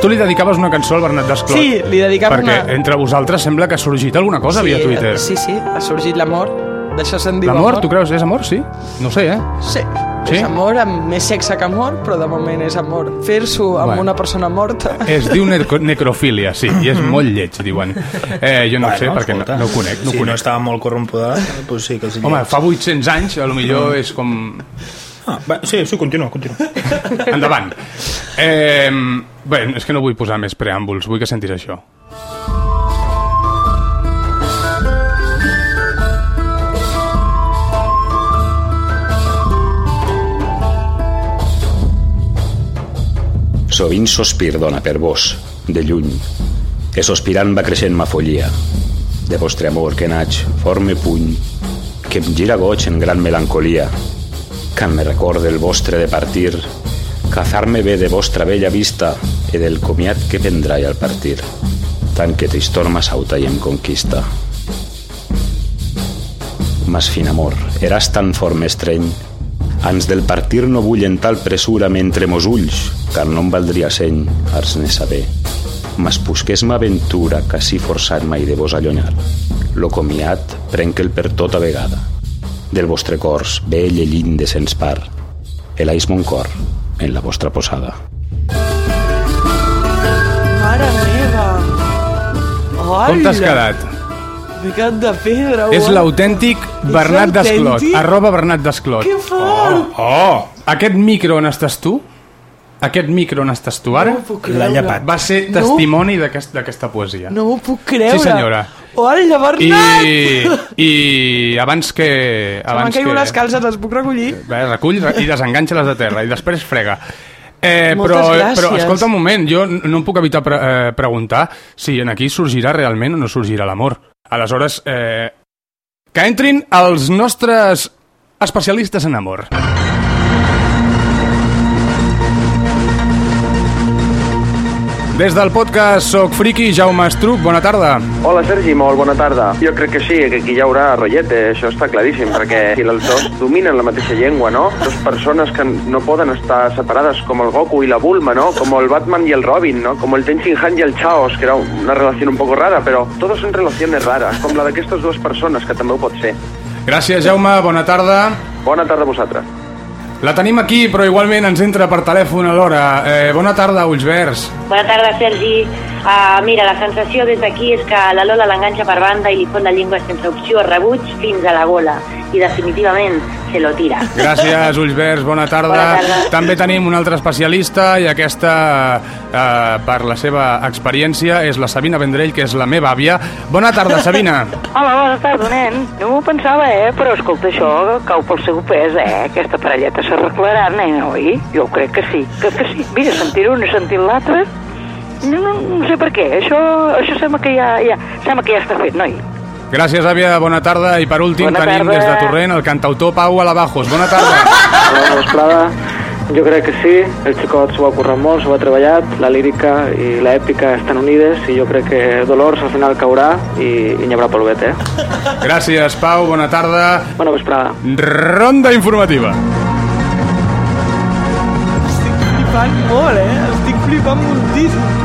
Speaker 1: Tu li dedicaves una cançó al Bernat Desclot.
Speaker 4: Sí, li dedicava
Speaker 1: perquè
Speaker 4: una-
Speaker 1: entre vosaltres sembla que ha sorgit alguna cosa
Speaker 4: sí,
Speaker 1: via Twitter.
Speaker 4: Sí, sí, ha sorgit l'amor. D'això se'n diu
Speaker 1: L'amor,
Speaker 4: amor.
Speaker 1: tu creus? És amor, sí? No ho sé, eh?
Speaker 4: Sí.
Speaker 1: Sí?
Speaker 4: És amor amb més sexe que amor, però de moment és amor. Fer-s'ho amb
Speaker 1: Bueno.
Speaker 4: bueno. una persona morta.
Speaker 1: Es diu necro necrofília, sí, i és molt lleig, diuen. Eh, jo no bueno, sé, perquè no, no ho conec. No ho
Speaker 2: si
Speaker 1: conec.
Speaker 2: no estava molt corrompuda, doncs sí que els hi
Speaker 1: Home, fa 800 anys, a lo millor és com...
Speaker 2: Ah, va, sí, sí, continua, continua.
Speaker 1: Endavant. Eh, bé, és que no vull posar més preàmbuls, vull que sentis això.
Speaker 11: Sovint sospir, dona, per vos, de lluny, que sospirant va creixent ma follia, de vostre amor que naig, forme puny, que em gira goig en gran melancolia, quan me recorde el vostre de partir, cazar-me bé de vostra bella vista e del comiat que vendrà al partir, tant que tristor m'assauta i em conquista. Mas fin amor, eras tan fort estreny. Ans del partir no vull en tal pressura mentre mos ulls, car no em valdria seny, ars ne saber. Mas busqués m'aventura, que si forçat mai de vos allonyar. Lo comiat prenque'l per tota vegada. Del vostre cors, vell i llind de sens par. Elais mon cor en la vostra posada.
Speaker 4: Mare meva! Hola.
Speaker 1: Com t'has quedat?
Speaker 4: M'he quedat de pedra.
Speaker 1: És
Speaker 4: uau.
Speaker 1: l'autèntic Bernat Desclot,
Speaker 4: l'autèntic?
Speaker 1: arroba Bernat Desclot.
Speaker 4: Que fort!
Speaker 1: Oh! Aquest micro on estàs tu, aquest micro on estàs tu ara,
Speaker 4: No ho puc
Speaker 2: L'ha
Speaker 4: creure.
Speaker 2: llapat.
Speaker 1: va ser
Speaker 4: No.
Speaker 1: testimoni d'aquest- d'aquesta poesia.
Speaker 4: No m'ho puc creure.
Speaker 1: Sí, senyora.
Speaker 4: Hola,
Speaker 1: I,
Speaker 4: Bernat!
Speaker 1: I abans que...
Speaker 4: Se m'han
Speaker 1: Abans
Speaker 4: caigut
Speaker 1: que...
Speaker 4: les calces, les puc recollir?
Speaker 1: Bé, recull i desenganxa-les de terra i després frega. Eh,
Speaker 4: Moltes
Speaker 1: però,
Speaker 4: gràcies.
Speaker 1: però escolta un moment, jo n- no em puc evitar pre eh, preguntar si en aquí sorgirà realment o no sorgirà l'amor. Aleshores, eh, que entrin els nostres especialistes en amor. Des del podcast Soc Friki, Jaume Estruc, bona tarda.
Speaker 9: Hola, Sergi, molt bona tarda. Jo crec que sí, que aquí hi haurà rotllete, això està claríssim, perquè si Eh, els dos dominen la mateixa llengua, no? Dos persones que no poden estar separades, com el Goku i la Bulma, no? Com el Batman i el Robin, no? Com el Tenzin Han i el Chaos, que era una relació un poco rara, però todos son relaciones raras, com la d'aquestes dues persones, que també ho pot ser.
Speaker 1: Gràcies, Jaume, bona tarda.
Speaker 9: Bona tarda a vosaltres.
Speaker 1: La tenim aquí, però igualment ens entra per telèfon alhora. Eh, bona tarda, Ulls Verds.
Speaker 12: Bona tarda, Sergi. Uh, mira, la sensació des d'aquí és que la Lola l'enganxa per banda i li fot la llengua sense opció a rebuig fins a la gola. I definitivament se lo tira.
Speaker 1: Gràcies, Ulls Verds, bona tarda.
Speaker 12: Bona tarda.
Speaker 1: També tenim un altre especialista i aquesta, eh, per la seva experiència, és la Sabina Vendrell, que és la meva àvia. Bona tarda, Sabina.
Speaker 12: Hola, bona tarda, nen. No m'ho pensava, eh? Però escolta, això cau pel seu pes, eh? Aquesta parelleta s'arreglarà, nen, oi? Jo crec que sí. Que, que sí. Mira, sentir un i sentir l'altre... No, no, no, sé per què. Això, això sembla que ja, ja, sembla que ja està fet, noi.
Speaker 1: Gràcies, àvia, bona tarda. I per últim
Speaker 12: Bona
Speaker 1: tenim
Speaker 12: tarda.
Speaker 1: des de Torrent el cantautor Pau Alabajos. Bona tarda.
Speaker 12: Hola, vesprada. Jo crec que sí, el xicot s'ho ha currat molt, s'ho ha treballat, la lírica i l'èpica estan unides i jo crec que Dolors al final caurà i, i n'hi haurà polvet, eh?
Speaker 1: Gràcies, Pau, bona tarda.
Speaker 12: Bona vesprada.
Speaker 1: Ronda informativa.
Speaker 4: Estic flipant molt, eh? Estic flipant moltíssim.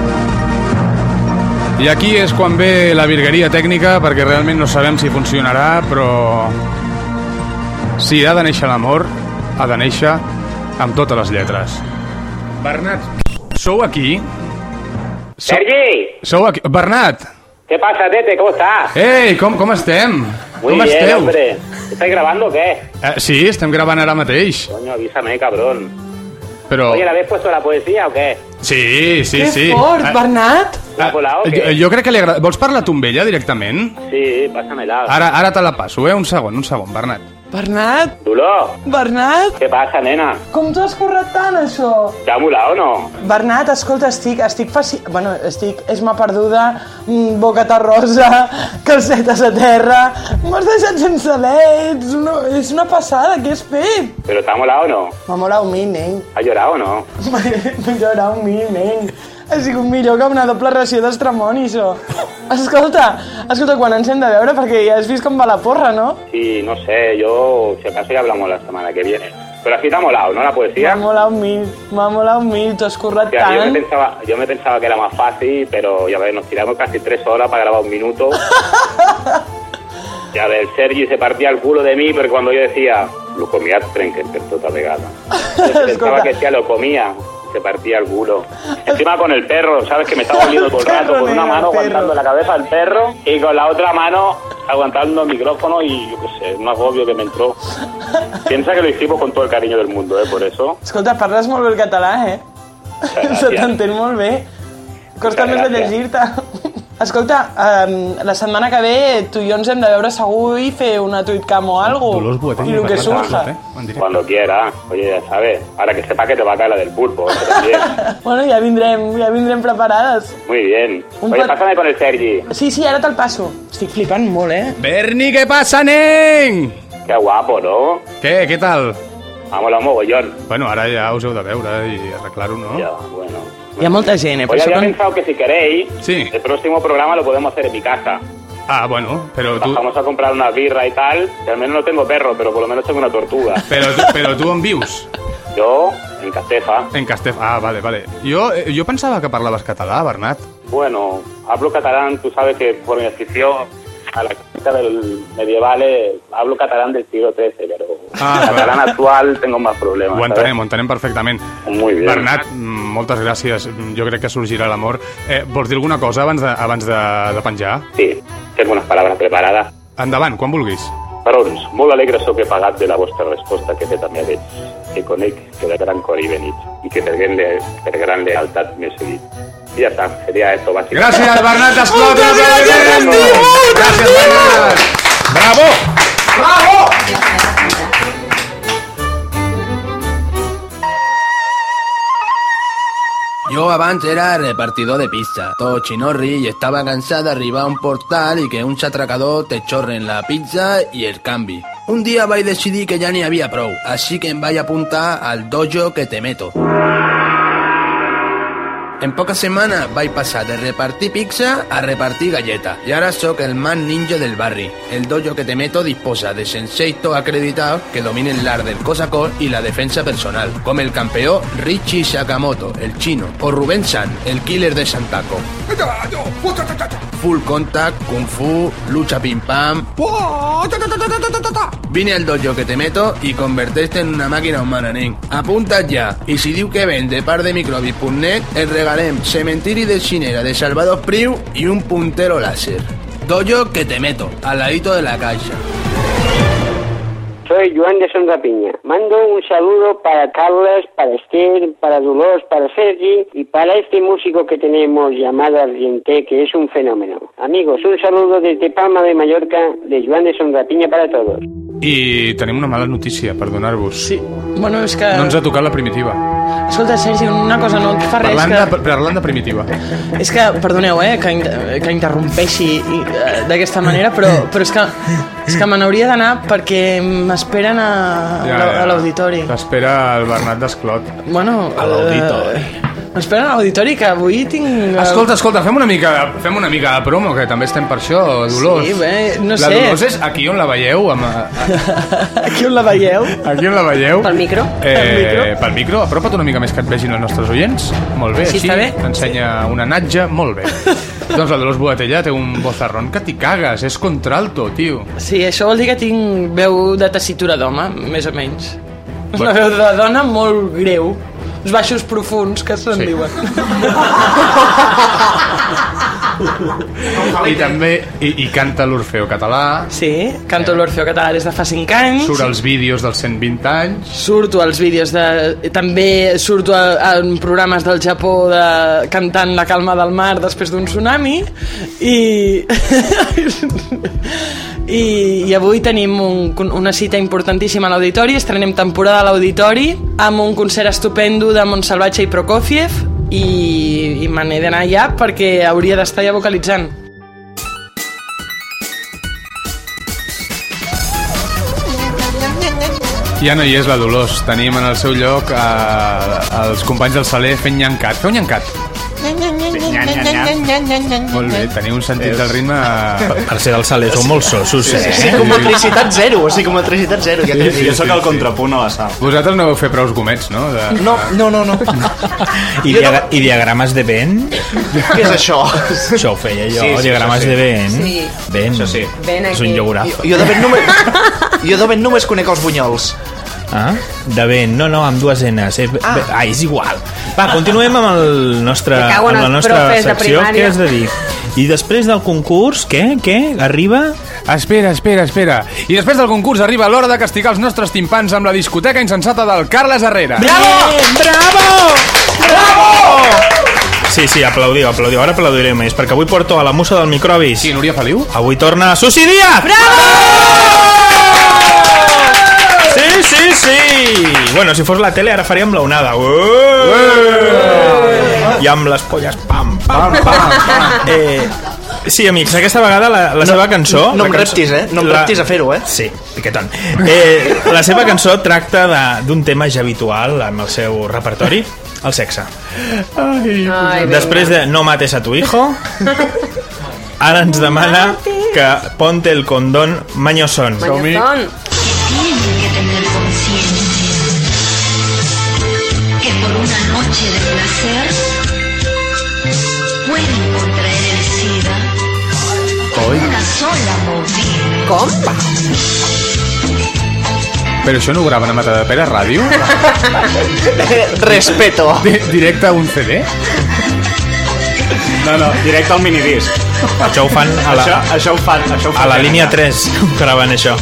Speaker 1: I aquí és quan ve la virgueria tècnica, perquè realment no sabem si funcionarà, però... Si ha de néixer l'amor, ha de néixer amb totes les lletres. Bernat, sou aquí? Sou,
Speaker 13: Sergi,
Speaker 1: sou aquí? Bernat!
Speaker 13: ¿qué pasa, Tete? ¿Cómo estás?
Speaker 1: Ei, com, com estem?
Speaker 13: Muy
Speaker 1: com
Speaker 13: bien,
Speaker 1: esteu?
Speaker 13: hombre. ¿Estáis grabando o qué?
Speaker 1: Eh, sí, estem gravant ara mateix,
Speaker 13: Coño, avísame, cabrón.
Speaker 1: però...
Speaker 13: Oye, ¿la habéis puesto la poesía o qué?
Speaker 1: Sí, Oh. sí, sí. Eh,
Speaker 4: Bernat!
Speaker 13: ¿La ha colado o
Speaker 1: Jo,
Speaker 13: qué?
Speaker 1: jo crec que li agrada... Vols parlar tu amb ella directament?
Speaker 13: Sí, pásamela.
Speaker 1: Ara, ara te la passo, eh? Un segon, un segon, Bernat.
Speaker 4: Bernat,
Speaker 13: Dolor,
Speaker 4: Bernat,
Speaker 13: ¿qué pasa, nena?
Speaker 4: com t'ho has currat tant, això?
Speaker 13: ¿Te ha mulado o no?
Speaker 4: Bernat, escolta, estic, estic faci... Bueno, estic... És ma perduda, mm, bocata rosa, calcetes a terra... M'has deixat sense alè, ets una, és una passada, què has fet?
Speaker 13: ¿Pero te ha molado o no?
Speaker 4: M'ha molat un min, nen.
Speaker 13: ¿Ha llorado o no?
Speaker 4: M'ha m'ha llorat un min, nen. Ha sigut millor que una doble ració d'estremoni, això. Escolta, escolta, quan ens hem de veure, perquè ja has vist com va la porra, no?
Speaker 13: Sí, no sé, yo si acaso ya hablamos la semana que viene. Pero así te ha molado, ¿no? La poesía.
Speaker 4: M'ha molat un mil, m'ha molat un mil, t'ho has currat
Speaker 13: Hostia, yo,
Speaker 4: tant.
Speaker 13: me pensaba, yo me pensaba que era más fácil, pero ya ves, nos tiramos casi tres horas para grabar un minuto. ya ves, el Sergi se partía el culo de mí, pero cuando yo decía, lo comía tren que tota vegada. Yo pensaba que decía, lo comía, se partía el culo. Encima con el perro, ¿sabes? Que me estaba oliendo todo el rato, con una mano aguantando la cabeza al perro y con la otra mano aguantando el micrófono y yo qué sé, un agobio que me entró. Piensa que lo hicimos con todo el cariño del mundo, ¿eh? Por eso.
Speaker 4: Escolta, parles molt bé el català, eh? Se t'entén molt bé. Costa
Speaker 13: Moltes
Speaker 4: més de
Speaker 13: gràcies.
Speaker 4: llegir-te. Escolta, um, la setmana que ve tu i jo ens hem de veure segur i fer una tweetcam o algo. I el Oh, que surja.
Speaker 13: eh?
Speaker 1: ¿eh?
Speaker 13: Cuando quiera, oye, ya sabes. Ahora que sepa que te va a caer la del pulpo.
Speaker 1: Eh,
Speaker 13: que también.
Speaker 4: Bueno, ja vindrem, ja vindrem preparades.
Speaker 13: Muy bien.
Speaker 4: Un
Speaker 13: Oye,
Speaker 4: pat-
Speaker 13: pásame con el Sergi.
Speaker 4: Sí, sí, ara te'l passo. Estic flipant molt, eh?
Speaker 1: Berni, què passa, nen?
Speaker 13: Qué guapo, ¿no?
Speaker 1: Què, què tal?
Speaker 13: Ha molat mogollón.
Speaker 1: Bueno, ara ja us heu de veure i arreglar-ho, no?
Speaker 13: Ja, bueno.
Speaker 4: Hi ha molta gent,
Speaker 1: pues
Speaker 13: Oye, había pensado que si queréis, el próximo programa lo podemos hacer en mi casa.
Speaker 1: Ah, bueno, pero tú...
Speaker 13: Vamos a comprar una birra y tal. Que al menos no tengo perro, pero por lo menos tengo una tortuga.
Speaker 1: Però tu, però tu on vius?
Speaker 13: Yo, en Castefa.
Speaker 1: En Castefa. Ah, vale, vale. Jo, eh, jo pensava que parlaves català, Bernat.
Speaker 13: Bueno, hablo catalán, tú sabes que por mi afición a la crítica del medieval eh, hablo catalán del siglo XIII, pero
Speaker 1: Ah,
Speaker 13: catalán actual tengo más problemas.
Speaker 1: Ho
Speaker 13: ¿sabes?
Speaker 1: entenem, ho entenem perfectament.
Speaker 13: Muy bien.
Speaker 1: Bernat, mm, moltes gràcies. Mm, Jo crec que sorgirà l'amor. Eh, vols dir alguna cosa abans de, abans de, de penjar?
Speaker 13: Sí, tengo unas palabras preparadas.
Speaker 1: Endavant, quan vulguis.
Speaker 13: Barons, molt alegre sóc que pagat de la vostra resposta que he fet a mi veig, que conec que de gran cor hi venit i que per gran, le- per gran lealtat m'he seguit. I ja està, seria esto, bàsicament.
Speaker 1: Gràcies, Bernat, esclota! Gràcies,
Speaker 4: eh?
Speaker 1: Gràcies, Bernat! Bravo!
Speaker 8: Bravo!
Speaker 14: Yo abans era repartidor de pizza, todo chinorri, y estaba cansada arriba a un portal y que un chatracador te chorre en la pizza y el cambi. Un día vais decidí que ya ni había pro, así que vais a apuntar al dojo que te meto. En pocas semanas vais a pasar de repartir pizza a repartir galletas. Y ahora soy el más ninja del barrio. El dojo que te meto disposa de senseis todos acreditados que dominen el arte del cosacor y la defensa personal, como el campeón Richie Sakamoto, el chino, o Rubén San, el killer de Santaco. Full contact, kung fu, lucha pim pam. Vine al dojo que te meto y convertiste en una máquina humana, nen. Apunta ya. Y si diu que vende par de microbis.net, el regalem cementiri de chinera de Salvador Priu y un puntero láser. Dojo que te meto, al ladito de la calle.
Speaker 15: Soy Joan de Santa Piña. Mando un saludo para Carlos, para Esther, para Dolores, para Sergi y para este músico que tenemos llamado Ardiente, que es un fenómeno. Amigos, un saludo desde Palma de Mallorca, de Joan de Santa Piña para todos.
Speaker 1: I tenim una mala notícia, perdonar-vos. Sí.
Speaker 4: Bueno, és que...
Speaker 1: No ens ha tocat la primitiva.
Speaker 4: Escolta, Sergi, una cosa, no et fa res
Speaker 1: Parlant
Speaker 4: que...
Speaker 1: de, parlant de primitiva.
Speaker 4: És que, perdoneu, eh, que, in que interrompeixi i, eh, d'aquesta manera, però, però és que, és que me n'hauria d'anar perquè m'esperen a, a
Speaker 1: Ja,
Speaker 4: a
Speaker 1: ja.
Speaker 4: l'auditori.
Speaker 1: T'espera el Bernat d'Esclot. Eh,
Speaker 4: Bueno, a l'auditori. M'esperen a l'auditori, que avui tinc... eh,
Speaker 1: Escolta, escolta, fem una mica, de- fem una mica de promo, que també estem per això, Dolors.
Speaker 4: Sí, bé, no
Speaker 1: la
Speaker 4: sé.
Speaker 1: La Dolors és aquí on la veieu. Amb,
Speaker 4: Aquí on la veieu?
Speaker 1: Aquí on la veieu.
Speaker 3: Pel micro.
Speaker 1: Eh, Pel micro. Apropa't una mica més que et vegin els nostres oients. Molt bé,
Speaker 3: Així
Speaker 1: així.
Speaker 3: està bé?
Speaker 1: T'ensenya una natja, molt bé. doncs la Dolors Boatella té un bozarrón que t'hi cagues, és contralto, tio.
Speaker 4: Sí, això vol dir que tinc veu de tessitura d'home, més o menys. És una veu de dona molt greu. Uns baixos profuns, que se'n
Speaker 1: Sí.
Speaker 4: diuen.
Speaker 1: I també i, i canta l'Orfeo català. Eh,
Speaker 4: Sí, canto l'Orfeo català des de fa 5 anys.
Speaker 1: Surt als vídeos dels 120 anys.
Speaker 4: Surto als vídeos de... També surto a, en programes del Japó de, cantant La calma del mar després d'un tsunami i... I, I avui tenim un, con- una cita importantíssima a l'auditori, estrenem temporada a l'auditori amb un concert estupendo de Montsalvatge i Prokofiev i, i me n'he d'anar ja perquè hauria d'estar ja vocalitzant.
Speaker 1: Ja no hi és la Dolors. Tenim en el seu lloc eh, els companys del Saler fent nyancat. Feu nyancat. Molt
Speaker 4: Eh?
Speaker 1: bé, teniu un sentit del ritme... eh,
Speaker 2: Per, per ser del Saler són molt sossos, eh?
Speaker 8: Psicometricitat zero, o sigui, cometricitat zero. Ja t'ho dic.
Speaker 1: contrapunt a la sala. Vosaltres no veu fer prou gomets, no? De...
Speaker 8: No, no, no, no.
Speaker 2: I, dia I diagrames de vent?
Speaker 8: Què és això?
Speaker 2: Això ho feia jo,
Speaker 8: Sí, sí,
Speaker 2: diagrames
Speaker 8: això sí.
Speaker 2: de eh, vent.
Speaker 8: Sí.
Speaker 3: Mm.
Speaker 2: Vent. Això sí.
Speaker 8: Vent
Speaker 2: És un
Speaker 8: aquí.
Speaker 2: llogoraf.
Speaker 8: Jo de vent només, jo de vent només conec els bunyols.
Speaker 2: Ah? De vent, no, no, amb dues enes. Eh, ah. ah, és igual. Va, continuem amb, el nostre,
Speaker 8: Me cago en
Speaker 2: amb la
Speaker 8: els
Speaker 2: nostra
Speaker 8: profes de
Speaker 2: secció.
Speaker 8: primària.
Speaker 2: Què has de dir? I després del concurs, què? Què? Arriba?
Speaker 1: Espera, espera, espera. I després del concurs arriba l'hora de castigar els nostres timpans amb la discoteca insensata del Carles Herrera.
Speaker 2: Bravo! Bravo! Sí, sí, aplaudiu, aplaudiu. Ara aplaudiré més, perquè avui porto a la musa del microbis. Sí,
Speaker 1: Núria Feliu.
Speaker 2: Avui torna Susi Díaz! Bravo! Sí, sí, sí! Bueno, si fos la tele ara faríem la onada. Ué! I amb les polles, pam, pam, pam. Eh, sí, amics, aquesta vegada la, la seva cançó...
Speaker 8: no
Speaker 2: la
Speaker 8: em
Speaker 2: cançó-
Speaker 8: reptis, eh? No em reptis a fer-ho, eh?
Speaker 2: Sí, piquetón. Eh, la seva cançó tracta de- d'un tema ja habitual amb el seu repertori, el sexe.
Speaker 1: Ai,
Speaker 2: Després de No mates a tu hijo, ara ens demana que ponte el condón mañosón.
Speaker 7: Tienen que tener consciente que por una noche de placer pueden contraer el SIDA con una sola movida.
Speaker 1: Compa. Però això no ho graven a Matadepera Ràdio?
Speaker 8: Respeto.
Speaker 1: Di- Directe a un CD?
Speaker 2: No, no, directe al minidisc. Això ho fan a la,
Speaker 5: Això-
Speaker 2: això ho fan, això ho fan a la línia 3, graven això.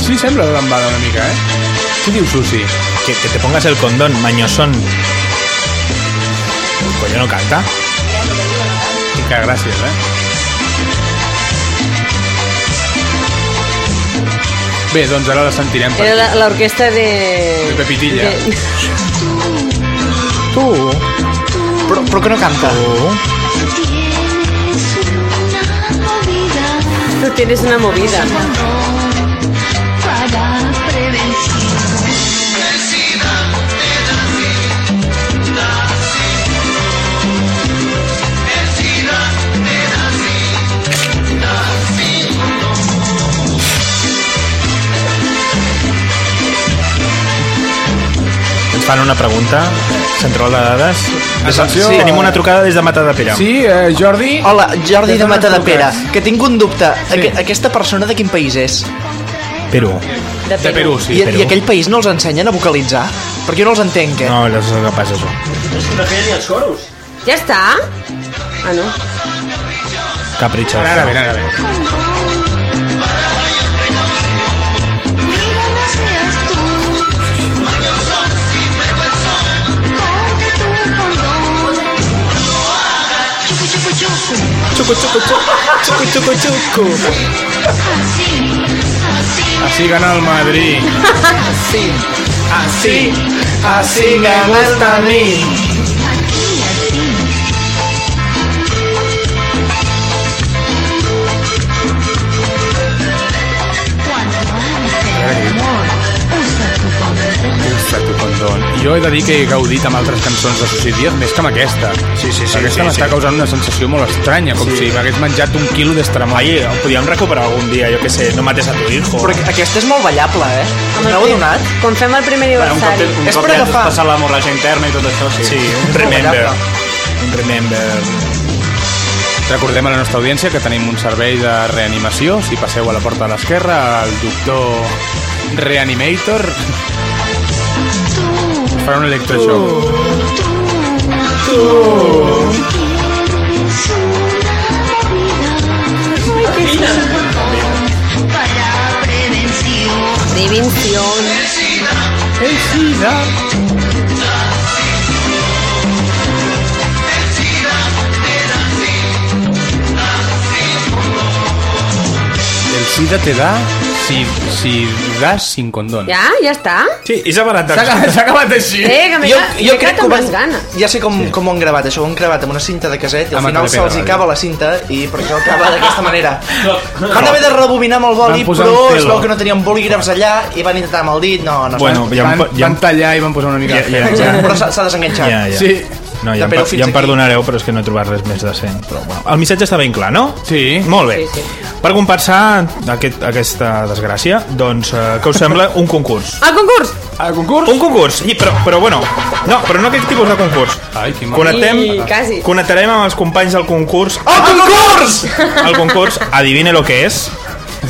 Speaker 1: Sí, sembla d'embada una mica, eh? Què diu Susi?
Speaker 2: Que, que te pongas el condón, mañosón. Pues yo no canta.
Speaker 1: Mica, gràcies, eh? Bé, doncs ara la sentirem per
Speaker 3: Era la-
Speaker 1: aquí.
Speaker 3: l'orquestra de...
Speaker 1: De Pepitilla.
Speaker 3: de-
Speaker 2: Tu.
Speaker 8: Però, però que no canta.
Speaker 3: Tú tienes una movida.
Speaker 7: Para prevención.
Speaker 2: Ens fan una pregunta, central de dades.
Speaker 1: Atenció.
Speaker 2: Sí. Tenim una trucada des de Mata de Pere.
Speaker 1: Sí, eh, Jordi.
Speaker 8: Hola, Jordi
Speaker 1: Des
Speaker 8: de
Speaker 1: d'on ens
Speaker 8: Matadepera.
Speaker 1: truques?
Speaker 8: Que tinc un dubte. Aqu aquesta persona de quin país és?
Speaker 2: Perú.
Speaker 8: De
Speaker 2: Perú. Perú, sí,
Speaker 8: I,
Speaker 2: Perú.
Speaker 8: I aquell país no els ensenyen a vocalitzar? Perquè jo no els entenc, eh?
Speaker 2: No, no sé què passa, això.
Speaker 8: els coros.
Speaker 3: Ja està? Ah, no.
Speaker 2: Capritxós.
Speaker 1: Ara, ara ve, ara ve.
Speaker 7: Chucu, chucu, chucu, chucu, chucu.
Speaker 1: Així gana el Madrid.
Speaker 7: Así,
Speaker 8: así, así me gusta a mí.
Speaker 1: Ufa, tu condón. Jo he de dir que he gaudit amb altres cançons de Susi Díaz més que amb aquesta. Sí, sí, sí. Aquesta
Speaker 2: sí,
Speaker 1: m'està
Speaker 2: sí.
Speaker 1: causant una sensació molt estranya, com
Speaker 2: Sí.
Speaker 1: si m'hagués menjat un quilo d'estramol.
Speaker 2: Ai, ho podíem recuperar algun dia, jo que sé, no mates a tu hijo.
Speaker 8: Però aquesta és molt ballable, eh?
Speaker 3: Home,
Speaker 8: N'heu
Speaker 3: sí.
Speaker 8: adonat?
Speaker 3: Quan fem el primer aniversari.
Speaker 8: és per agafar...
Speaker 2: l'hemorràgia interna i tot això, sí. Sí, un
Speaker 8: És molt
Speaker 2: remember.
Speaker 8: ballable.
Speaker 2: Un remember.
Speaker 1: Recordem a la nostra audiència que tenim un servei de reanimació. Si passeu a la porta de l'esquerra, el doctor Reanimator us farà un electroxoc.
Speaker 7: Para prevención.
Speaker 3: Prevención.
Speaker 7: El SIDA.
Speaker 1: El SIDA te da si, si das sin condón.
Speaker 3: Ja? Ja està?
Speaker 1: Sí, i s'ha acabat.
Speaker 16: S'ha acabat- s'ha acabat així.
Speaker 3: Eh, que m'he
Speaker 16: Jo- jo
Speaker 3: quedat- m'he
Speaker 16: crec
Speaker 3: quedat
Speaker 16: que ho
Speaker 3: amb
Speaker 16: van-
Speaker 3: les ganes.
Speaker 16: Ja sé com, com ho han gravat, això. Ho han gravat amb una cinta de caset i al
Speaker 1: Amb
Speaker 16: final
Speaker 1: una tapeta
Speaker 16: se'ls
Speaker 1: de
Speaker 16: hi
Speaker 1: ràdio.
Speaker 16: acaba la cinta i per això acaba d'aquesta manera. Van haver de rebobinar amb el boli,
Speaker 1: Van posar
Speaker 16: però
Speaker 1: un
Speaker 16: es
Speaker 1: filo.
Speaker 16: veu que no tenien bolígrafs allà i van intentar amb el dit. No, no.
Speaker 2: Bueno,
Speaker 16: no.
Speaker 2: ja em-
Speaker 16: van,
Speaker 2: ja em-
Speaker 16: van
Speaker 1: tallar i van posar una mica
Speaker 2: Ja- ja- ja.
Speaker 16: Però s'ha s'ha desenganxat.
Speaker 2: Ja, ja. No, ja,
Speaker 16: De
Speaker 2: em,
Speaker 16: Perú
Speaker 2: per-
Speaker 16: fins
Speaker 2: ja em
Speaker 16: aquí.
Speaker 2: perdonareu, però és que no he trobat res més decent. Però, bueno, el missatge està ben clar, no? Sí. Molt bé. Sí, sí. Per compensar aquest, aquesta desgràcia, doncs, eh, què us sembla un concurs?
Speaker 3: El concurs!
Speaker 1: Ah,
Speaker 2: El concurs? Un concurs, I, però, però bueno, no, però no aquest tipus de concurs.
Speaker 1: Ai, quin mal.
Speaker 2: Connectem,
Speaker 3: I, quasi.
Speaker 2: connectarem amb els companys del concurs.
Speaker 7: Oh!
Speaker 2: El
Speaker 16: concurs!
Speaker 2: El concurs Adivine lo que és,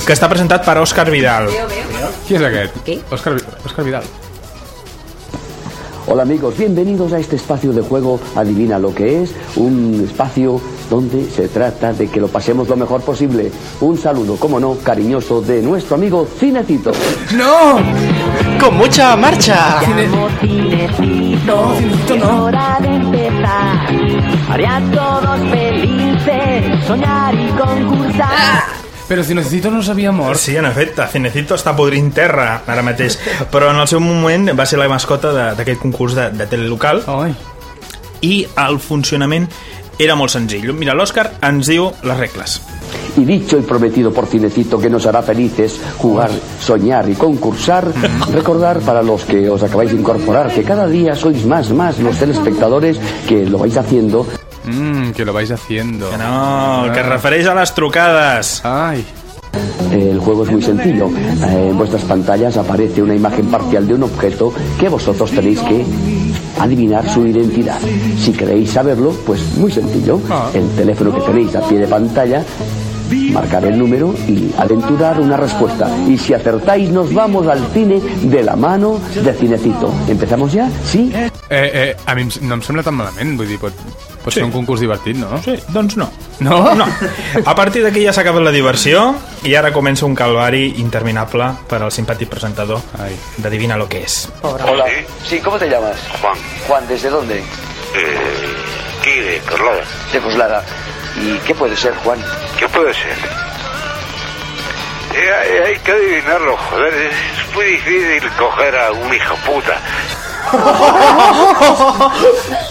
Speaker 2: que està presentat per Òscar Vidal.
Speaker 1: Qui és aquest? Qui? Òscar, Vi- Òscar Vidal.
Speaker 17: Hola amigos, bienvenidos a este espacio de juego Adivina lo que es, un espacio donde se trata de que lo pasemos lo mejor posible. Un saludo, como no, cariñoso de nuestro amigo Cinecito.
Speaker 16: ¡No! ¡Con mucha marcha!
Speaker 7: No, no. hora de empezar. Haré a todos felices. Soñar y concursar.
Speaker 2: Però Cinecito no s'havia mort. Sí, en efecte, Cinecito està podrint terra ara mateix. Però en el seu moment va ser la mascota de- d'aquest concurs de, de tele local. Oi. I el funcionament era molt senzill. Mira, l'Òscar ens diu les regles.
Speaker 17: Y dicho y prometido por Cinecito que nos hará felices jugar, soñar y concursar, recordar para los que os acabáis de incorporar que cada día sois más, más los telespectadores que lo vais haciendo
Speaker 1: Mmm, que lo vais haciendo. Que
Speaker 2: no, El que es refereix a les trucades.
Speaker 1: Ai.
Speaker 17: Eh, El juego es muy sencillo. Eh, En vuestras pantallas aparece una imagen parcial de un objeto que vosotros tenéis que adivinar su identidad. Si queréis saberlo, pues muy sencillo. El teléfono que tenéis a pie de pantalla, marcar el número y aventurar una respuesta. Y si acertáis, nos vamos al cine de la mano de Cinecito. ¿Empezamos ya? ¿Sí?
Speaker 1: Eh, eh, a mi em s- no em sembla tan malament, vull dir, pot, pot sí. ser un concurs divertit, no?
Speaker 2: Sí, doncs no. No? No. A partir d'aquí ja s'ha acabat la diversió i ara comença un calvari interminable per al simpàtic presentador d'Adivina lo que és.
Speaker 17: Hola. Sí, ¿cómo te llamas? Juan. Juan, ¿desde dónde?
Speaker 18: Eh, Aquí, de Coslada.
Speaker 17: De Coslada. ¿Y qué puede ser, Juan?
Speaker 18: ¿Qué puede ser? Eh, hay- hay que adivinarlo, joder. Es muy difícil coger a un hijo puta.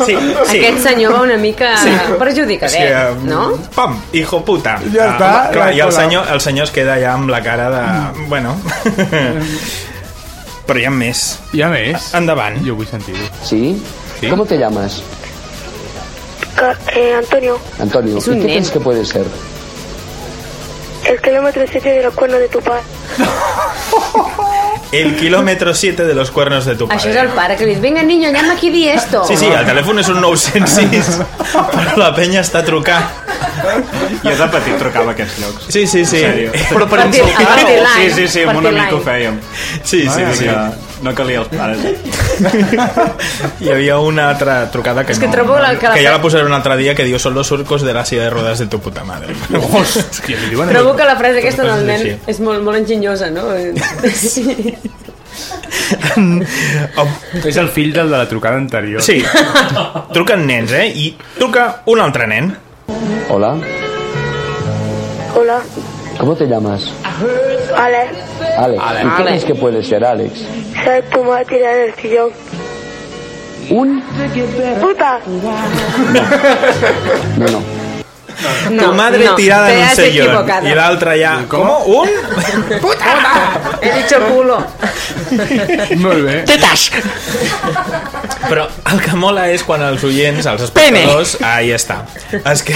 Speaker 2: Sí, sí.
Speaker 3: Aquest senyor va una mica
Speaker 2: Sí.
Speaker 3: sí. perjudicadet,
Speaker 2: És que, um,
Speaker 3: no?
Speaker 2: Pam, hijo puta.
Speaker 1: Ja està,
Speaker 2: Ah, clar,
Speaker 1: ja
Speaker 2: I el
Speaker 1: està.
Speaker 2: senyor, el senyor es queda ja amb la cara de... Bueno... Però hi ha més. Hi ha més? Endavant. Jo vull sentir-ho.
Speaker 17: ¿Sí? ¿Cómo te llamas?
Speaker 19: eh, Antonio,
Speaker 17: Antonio,
Speaker 19: Es un
Speaker 17: ¿y qué
Speaker 19: nen.
Speaker 17: crees que puede ser?
Speaker 19: el kilómetro 7 de los cuernos de tu padre.
Speaker 2: El kilómetro 7 de los cuernos de tu padre.
Speaker 3: Això és el pare que li diu, vinga, niño, llama aquí di esto.
Speaker 2: Sí, sí, el telèfon és un 906, però la penya està trucant.
Speaker 5: Jo de petit trucava a aquests llocs.
Speaker 2: Sí, sí, sí.
Speaker 5: En sèrio.
Speaker 2: Però per
Speaker 5: Party-
Speaker 2: insultar-ho?
Speaker 5: Party
Speaker 2: line,
Speaker 5: Sí, sí, sí, amb un
Speaker 2: party
Speaker 5: amic ho
Speaker 2: line.
Speaker 5: fèiem.
Speaker 2: Sí, sí,
Speaker 5: no,
Speaker 2: sí.
Speaker 5: sí. No calia els pares.
Speaker 2: Hi havia una altra trucada que,
Speaker 3: És que
Speaker 2: no,
Speaker 3: trobo la- que
Speaker 2: que,
Speaker 3: la-
Speaker 2: ja la posaré un altre dia que diu són los surcos de la silla de rodes de tu puta madre. Hòstia, li diuen...
Speaker 3: Trobo que la frase aquesta del nen
Speaker 2: Sí.
Speaker 3: és molt, molt enginyosa, no? Sí.
Speaker 1: És el fill del de la trucada anterior.
Speaker 2: Sí. Truquen nens, eh? I truca un altre nen.
Speaker 17: Hola.
Speaker 19: Hola,
Speaker 17: ¿Cómo te llamas?
Speaker 19: Ale,
Speaker 17: Alex. ¿Y qué
Speaker 19: Alex.
Speaker 17: crees que puede ser, Alex?
Speaker 19: soy tu madre tirada en el sillón.
Speaker 17: ¿Un?
Speaker 19: ¡Puta!
Speaker 17: No, no.
Speaker 2: tu madre tirada en un sillón.
Speaker 3: equivocado.
Speaker 2: I l'altre ja... Com? Un?
Speaker 3: He dicho culo.
Speaker 2: Molt bé.
Speaker 3: Tetas.
Speaker 2: Però el que mola és quan els oients, els espectadors... Pene. Ahí està. Es que...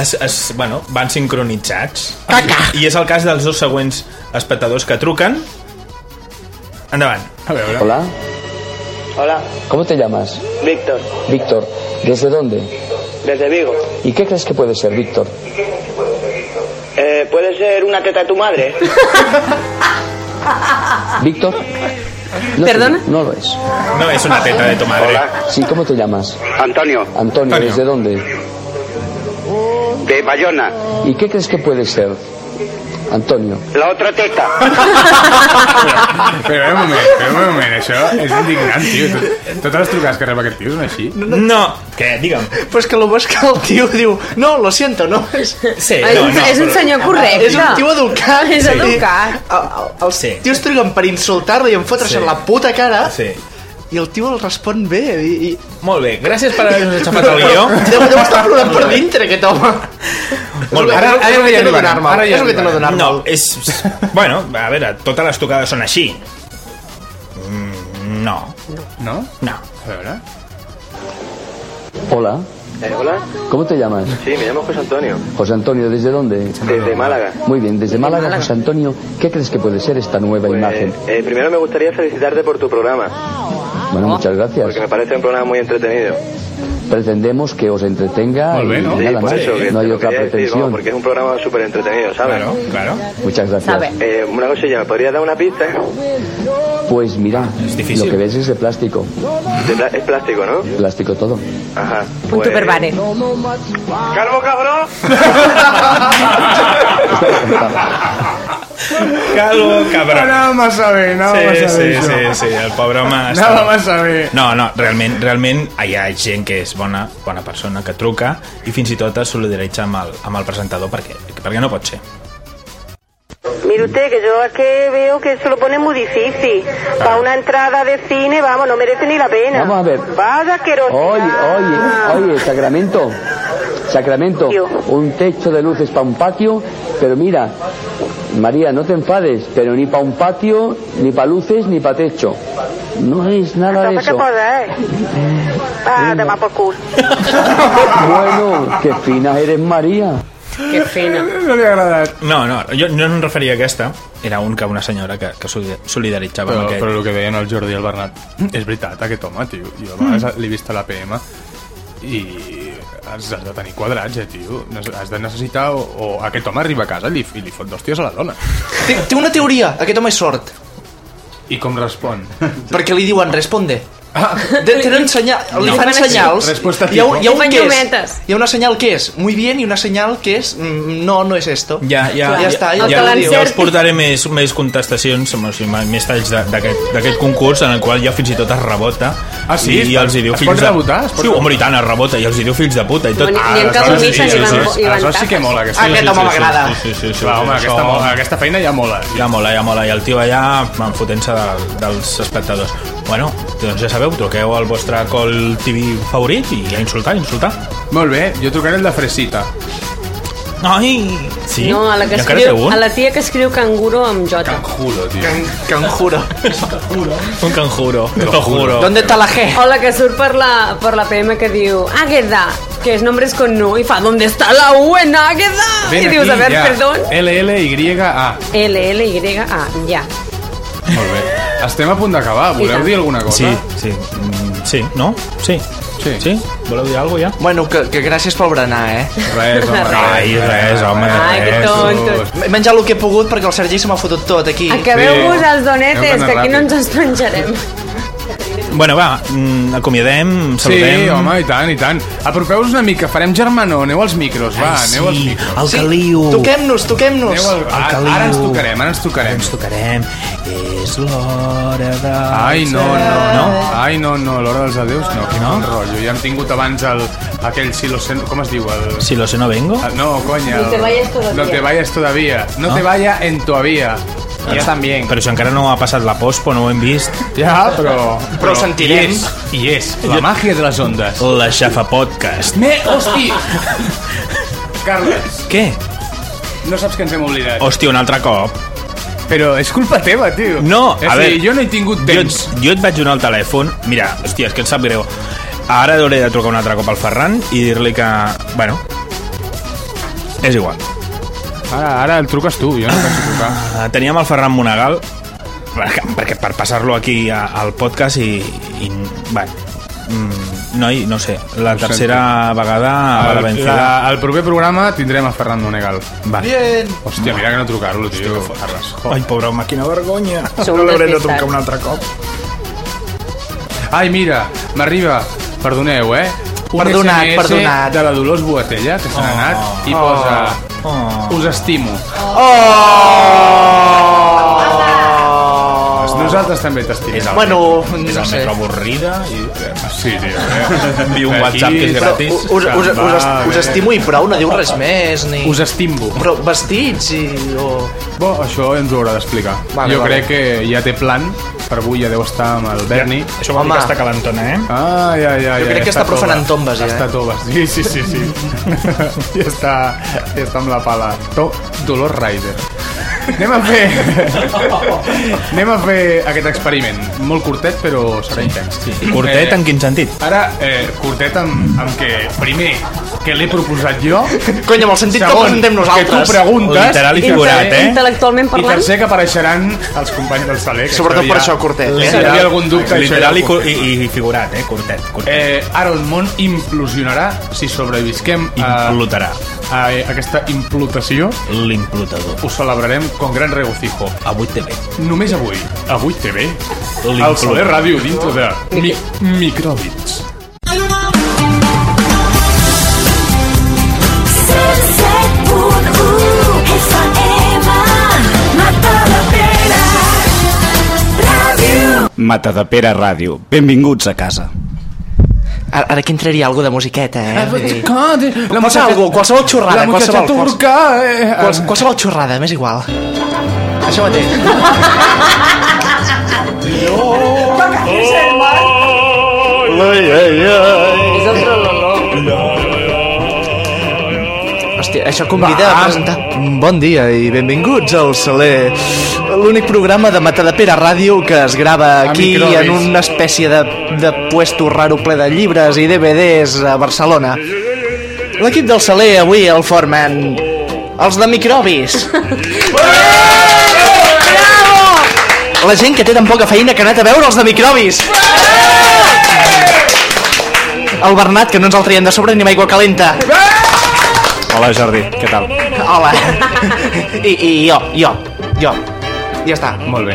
Speaker 2: Es, es, bueno, van sincronitzats. Caca. I és el cas dels dos següents espectadors que truquen. Endavant. A veure.
Speaker 17: Hola.
Speaker 20: Hola,
Speaker 17: ¿Cómo te llamas?
Speaker 20: Víctor,
Speaker 17: Víctor. ¿Desde dónde?
Speaker 21: desde Vigo.
Speaker 17: ¿Y qué crees que puede ser, Víctor?
Speaker 21: Eh, ¿Puede ser una teta de tu madre?
Speaker 17: ¿Víctor? No,
Speaker 21: ¿Perdona?
Speaker 17: No lo es.
Speaker 2: No es una teta de tu madre.
Speaker 17: Sí, ¿cómo te llamas?
Speaker 13: Antonio,
Speaker 17: Antonio, ¿desde dónde?
Speaker 13: de Bayona.
Speaker 17: ¿Y qué crees que puede ser, Antonio?
Speaker 13: La otra teta.
Speaker 1: Però un moment, però un moment, això és indignant, tio. Tot, totes les trucades que rep aquest tio són així?
Speaker 2: No. Què? Digue'm.
Speaker 16: Però és que lo bo és que el tio diu no, lo siento, no és...
Speaker 2: Sí,
Speaker 3: És un- no, no, és un però- senyor correcte.
Speaker 16: És un tio educat.
Speaker 3: És
Speaker 16: Sí.
Speaker 3: educat.
Speaker 16: El- el- Els sí. tios triguen per insultar-lo i en fotre-se
Speaker 2: Sí.
Speaker 16: en la puta cara.
Speaker 2: Sí.
Speaker 16: I el tio el respon bé. I, i...
Speaker 2: Molt bé, gràcies per haver-nos aixafat el guió.
Speaker 16: Deu, deu estar plorant per dintre, aquest home.
Speaker 2: Molt bé.
Speaker 16: Ara- ara ja hi arribarem, ara ja hi
Speaker 2: no
Speaker 16: arribarem.
Speaker 2: donar-me. No, és... Bueno, a veure, totes les tocades són així. Mm, no.
Speaker 1: No?
Speaker 2: No.
Speaker 1: A veure...
Speaker 17: Hola,
Speaker 7: Eh, hola,
Speaker 17: ¿cómo te llamas?
Speaker 7: sí, me llamo José Antonio.
Speaker 17: José Antonio, ¿desde dónde?
Speaker 7: Desde Málaga.
Speaker 17: Muy bien, desde Málaga, José Antonio, ¿qué crees que puede ser esta nueva imagen?
Speaker 7: Eh, primero me gustaría felicitarte por tu programa,
Speaker 17: Bueno, muchas gracias.
Speaker 7: porque me parece un programa muy entretenido.
Speaker 17: Pretendemos que os entretenga
Speaker 7: Muy
Speaker 17: y
Speaker 7: bien, ¿no? Sí,
Speaker 17: nada
Speaker 7: por
Speaker 17: más.
Speaker 7: eso, que
Speaker 17: no hay
Speaker 7: te lo
Speaker 17: otra
Speaker 7: quería decir, vamos,
Speaker 17: pretensión.
Speaker 7: porque es un programa súper entretenido, ¿sabes? Claro,
Speaker 2: claro.
Speaker 17: Muchas gracias.
Speaker 7: Eh, una cosilla, ¿me podrías dar una pista?
Speaker 17: Pues mira, lo que ves es de plástico.
Speaker 7: De pla- es plástico, ¿no? Pues,
Speaker 17: Plástico todo.
Speaker 7: Ajá.
Speaker 3: Punto per bare.
Speaker 13: Calvo cabrón.
Speaker 2: Calvo, cabró.
Speaker 1: Anava massa bé, anava
Speaker 2: Sí,
Speaker 1: massa
Speaker 2: sí,
Speaker 1: bé.
Speaker 2: sí, sí, el pobre home...
Speaker 1: Anava massa bé.
Speaker 2: No, no, realment, realment hi ha gent que és bona, bona persona, que truca i fins i tot es solidaritza amb el, amb el presentador perquè, perquè no pot ser.
Speaker 15: Mire usted, que yo es que veo que se lo pone muy difícil. Para una entrada de cine, vamos, no merece ni la pena.
Speaker 17: Vamos a ver.
Speaker 15: Vaya asquerosidad.
Speaker 17: Oye, oye, oye, Sacramento. Sacramento, un techo de luces para un patio, pero mira, María, no te enfades, pero ni para un patio, ni para luces, ni para techo. No es nada de
Speaker 15: Entonces,
Speaker 17: eso.
Speaker 15: ¿qué
Speaker 7: ¿eh?
Speaker 15: podéis? eh. Ah, te va por culo.
Speaker 17: Bueno, qué fina eres, María.
Speaker 3: Que fina.
Speaker 1: No li ha agradat.
Speaker 2: No, no, jo no em referia a aquesta. Era un que una senyora que, que soli- solidaritzava
Speaker 1: Però,
Speaker 2: amb aquest.
Speaker 1: però el que deien el Jordi i el Bernat és veritat, aquest home, tio. Jo a
Speaker 16: Mm.
Speaker 1: vegades l'he vist a l'APM i has, has de tenir quadrats, eh, tio. Nes- Has de necessitar... O, o aquest home arriba a casa i li, i li fot dos tios a la dona.
Speaker 16: Té, té una teoria, aquest home és sort.
Speaker 1: I com respon?
Speaker 16: Perquè li diuen responde.
Speaker 2: Ah.
Speaker 16: De, tenen senyal, li
Speaker 1: No.
Speaker 16: fan
Speaker 1: Fan així.
Speaker 16: senyals.
Speaker 1: Resposta
Speaker 16: hi ha, un-
Speaker 1: tipo.
Speaker 16: hi ha un
Speaker 1: Fan
Speaker 16: que és,
Speaker 1: llumetes.
Speaker 16: hi ha una senyal que és muy bien i una senyal que és mm, no, no és esto.
Speaker 2: Ja, ja,
Speaker 16: ja, està. Ja,
Speaker 2: ja,
Speaker 16: ho diu.
Speaker 2: ja us portaré més, més contestacions, o sigui, més talls de- d'aquest d'aquest concurs en el qual ja fins i tot es rebota.
Speaker 1: Ah, sí?
Speaker 2: I, i els hi diu
Speaker 1: Es
Speaker 2: fills
Speaker 1: pot
Speaker 2: de...
Speaker 1: rebotar? Es pot
Speaker 2: Sí, home, i tant, es rebota, i els hi diu fills de puta i tot. Ah,
Speaker 1: Ni- ni en cas
Speaker 2: aleshores
Speaker 1: omises
Speaker 2: sí,
Speaker 1: hi van-
Speaker 2: sí, Ah,
Speaker 1: hi
Speaker 2: sí,
Speaker 1: van
Speaker 2: aleshores sí que
Speaker 1: tafes.
Speaker 2: mola. Aquesta,
Speaker 1: Aquest
Speaker 2: sí,
Speaker 1: home
Speaker 2: sí,
Speaker 1: m'agrada.
Speaker 2: Sí, sí, sí, sí,
Speaker 1: Va,
Speaker 2: sí,
Speaker 1: home,
Speaker 2: sí,
Speaker 1: aquesta
Speaker 2: això-
Speaker 1: mola, aquesta feina ja mola.
Speaker 2: Ja mola, ja mola, i el tio allà en fotent-se del, dels espectadors. Bueno, doncs ja sabeu, truqueu al vostre col TV favorit i a insultar, a insultar.
Speaker 1: Molt bé, jo trucaré el de Fresita.
Speaker 2: Ai! Sí?
Speaker 3: No, a la, que
Speaker 2: I encara
Speaker 3: escriu,
Speaker 2: té un?
Speaker 3: a la tia que escriu canguro amb Jota.
Speaker 1: Juro, tio.
Speaker 16: Can, canjuro.
Speaker 2: Un canjuro. Te lo juro.
Speaker 16: ¿Dónde está la G?
Speaker 3: O Tota la que surt per la, per la PM que diu Águeda, que és nombres con nu, i fa ¿Dónde está la U en Águeda? I dius, a ver, perdón.
Speaker 1: L-L-Y-A.
Speaker 3: L-L-Y-A, ja.
Speaker 1: Molt bé. Estem a punt d'acabar.
Speaker 3: I
Speaker 1: Voleu
Speaker 3: tant.
Speaker 1: dir alguna cosa?
Speaker 2: Sí, sí. Mm, sí, no? Sí.
Speaker 1: Sí.
Speaker 2: Sí? Voleu dir alguna cosa, ja?
Speaker 16: Bueno, que, que gràcies pel berenar, eh?
Speaker 1: Res, home.
Speaker 2: Ai, res, home,
Speaker 1: Ai,
Speaker 2: res.
Speaker 1: que tontos.
Speaker 16: He menjat el que he pogut perquè el Sergi se m'ha fotut tot aquí.
Speaker 3: Acabeu-vos els donetes,
Speaker 2: anat
Speaker 3: que aquí
Speaker 2: ràpid.
Speaker 3: no ens els menjarem.
Speaker 2: Bueno, va, mm, acomiadem,
Speaker 1: Sí,
Speaker 2: saludem.
Speaker 1: home, i tant, i tant. Apropeu-vos una mica, farem germanó, aneu als micros, va,
Speaker 2: Ai, sí,
Speaker 1: aneu als micros.
Speaker 2: al Sí, caliu.
Speaker 16: Toquem-nos, toquem-nos.
Speaker 1: Aneu al...
Speaker 2: Al
Speaker 1: Ara,
Speaker 2: caliu.
Speaker 1: ara ens tocarem, ara ens tocarem. Ens
Speaker 2: tocarem. És l'hora de...
Speaker 1: Ai, no, no, no.
Speaker 2: No?
Speaker 1: Ai, no, no, l'hora dels adeus, no, que no? rotllo. Ja hem tingut abans el, aquell si lo sé... Com es diu? El... Ah,
Speaker 2: Si lo sé no vengo?
Speaker 1: No, conya.
Speaker 3: No te vayas todavía.
Speaker 1: No te vayas todavía. No,
Speaker 2: No.
Speaker 1: te vaya en todavía.
Speaker 2: Ja
Speaker 1: estan
Speaker 2: bien. Però això encara no ha passat la pospo, no ho hem vist.
Speaker 1: Ja, però...
Speaker 2: Però ho sentirem.
Speaker 1: I és, i és la màgia de les ondes.
Speaker 2: La xafa podcast.
Speaker 1: Me, hosti! Carles,
Speaker 2: Què?
Speaker 1: no saps que ens hem oblidat.
Speaker 2: Hòstia, un altre cop.
Speaker 1: Però és culpa teva, tio.
Speaker 2: No,
Speaker 1: És
Speaker 2: a
Speaker 1: a
Speaker 2: veure...
Speaker 1: dir, jo no he tingut temps.
Speaker 2: Jo, jo et vaig donar el telèfon. Mira, hòstia, és que em sap greu. Ara hauré de trucar un altre cop al Ferran i dir-li que... Bueno, és igual.
Speaker 1: Ara, ara el truques tu, jo no penso trucar.
Speaker 2: Ah, Teníem el Ferran Monagal perquè, perquè per passar-lo aquí a, al podcast i... i bueno, mm, Noi, no sé, la tercera vegada a la
Speaker 1: El,
Speaker 2: vencida.
Speaker 1: la, el proper programa tindrem a Ferran Donegal. Va.
Speaker 2: Bien.
Speaker 1: Hòstia, mira que no trucar-lo, tio. Carles.
Speaker 2: Ai, pobre home, quina vergonya.
Speaker 1: Sou
Speaker 2: no l'hauré de
Speaker 1: despistats.
Speaker 2: trucar un altre cop.
Speaker 1: Ai, mira, m'arriba, perdoneu, eh? Un
Speaker 16: Perdonat,
Speaker 1: SMS
Speaker 16: perdonat.
Speaker 1: de la Dolors Boatella, que se n'ha anat, i
Speaker 16: Oh.
Speaker 1: posa...
Speaker 2: Oh.
Speaker 1: Us estimo. Oh! Nosaltres també t'estimem.
Speaker 2: És
Speaker 16: el- Bueno,
Speaker 2: és el no sé. metro avorrida i...
Speaker 1: Sí, tio. Eh?
Speaker 2: Envio un WhatsApp que és
Speaker 1: Aquí-
Speaker 2: gratis.
Speaker 16: Us, us, us, us, us estimo i prou, no diu res més, ni...
Speaker 1: Us estimbo.
Speaker 16: Però vestits i... O...
Speaker 1: Bo, això ens ho haurà d'explicar.
Speaker 16: Vale,
Speaker 1: jo
Speaker 16: vale.
Speaker 1: crec que ja té plan, per avui ja deu estar amb el Berni.
Speaker 2: Ja, això vol dir que està calentona, eh?
Speaker 1: Ah, ja, ja,
Speaker 16: Jo
Speaker 1: ja,
Speaker 16: crec que està profanant
Speaker 1: tova.
Speaker 16: tombes, ja, eh?
Speaker 1: Està toves, sí, sí, sí. sí. ja, està, ja està amb la pala. To Dolor Rider. Anem a fer... Anem a fer aquest experiment. Molt curtet, però serà intens. Eh, Sí.
Speaker 2: Curtet, en quin sentit?
Speaker 1: Ara, eh, curtet amb, amb que, primer, que l'he proposat jo.
Speaker 16: Cony, amb el sentit que presentem nosaltres.
Speaker 1: Que tu preguntes.
Speaker 2: Literal i figurat, eh?
Speaker 3: Intel·lectualment
Speaker 1: I
Speaker 3: parlant.
Speaker 1: tercer, que apareixeran els companys del Saler. que
Speaker 16: Sobretot per
Speaker 1: ja-
Speaker 16: això, curtet, eh?
Speaker 1: Si hi havia algun dubte,
Speaker 2: Literal i,
Speaker 1: això ja ho
Speaker 2: cu- i, i figurat, eh? Curtet, curtet.
Speaker 1: Eh, ara el món implosionarà si sobrevisquem a,
Speaker 2: Implotarà.
Speaker 1: a, eh, aquesta implotació.
Speaker 2: L'implotador.
Speaker 1: Ho celebrarem con gran regocijo.
Speaker 2: Avui TV.
Speaker 1: Només avui. Avui TV.
Speaker 2: L'implotador.
Speaker 1: El Soler Ràdio dintre de mi micròbits.
Speaker 5: Mata de Pere Ràdio. Benvinguts a casa.
Speaker 16: Ara, ara que entraria alguna de musiqueta, eh? Vull dir-
Speaker 1: La
Speaker 16: Posa algo, qualsevol xorrada,
Speaker 1: La muchacha
Speaker 16: qualsevol, qualsevol,
Speaker 1: turca... Eh,
Speaker 16: quals, qualsevol xorrada, m'és igual. Això mateix. Hòstia, això convida a presentar... Bon dia i benvinguts al Saler, l'únic programa de Matadepera Ràdio que es grava aquí
Speaker 1: microbis.
Speaker 16: en una espècie de, de puesto raro ple de llibres i DVDs a Barcelona. L'equip del Saler avui el formen els de microbis. La gent que té tan poca feina que ha anat a veure els de microbis. El Bernat, que no ens el traiem de sobre ni amb aigua calenta.
Speaker 5: Hola, Jordi, què tal?
Speaker 16: Hola. I, i jo, jo, jo. Ja està.
Speaker 1: Molt bé.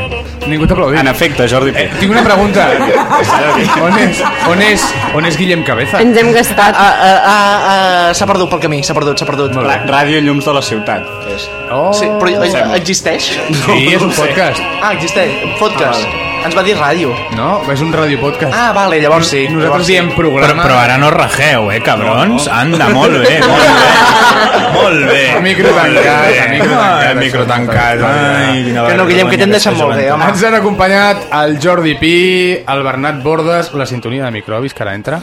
Speaker 1: Ningú t'aplaudeix.
Speaker 5: En efecte, Jordi P.
Speaker 1: Tinc una pregunta. on, és, on, és, on és Guillem Cabeza?
Speaker 3: Ens hem gastat.
Speaker 16: Ah, ah, ah, ah, s'ha perdut pel camí, s'ha perdut, s'ha perdut.
Speaker 5: Ra- Ràdio Llums de la Ciutat. És.
Speaker 1: Oh,
Speaker 16: Sí, però eh,
Speaker 5: Sembla.
Speaker 16: existeix?
Speaker 1: Sí, és un podcast. Ah,
Speaker 16: Ah, existeix, podcast. Ens va dir ràdio.
Speaker 1: No, és un radiopodcast.
Speaker 16: Ah, vale, llavors sí.
Speaker 1: Nosaltres diem
Speaker 2: Però,
Speaker 1: programa...
Speaker 2: però ara no rajeu, eh, cabrons? Anda, molt bé, molt bé. Molt bé.
Speaker 1: A micro tancat, a micro tancat,
Speaker 2: A micro tancat. Ai, quina
Speaker 16: Que no, Guillem, que t'hem deixat molt bé, home.
Speaker 1: Ens han acompanyat el Jordi Pi, el Bernat Bordes, la sintonia de microbis que ara entra.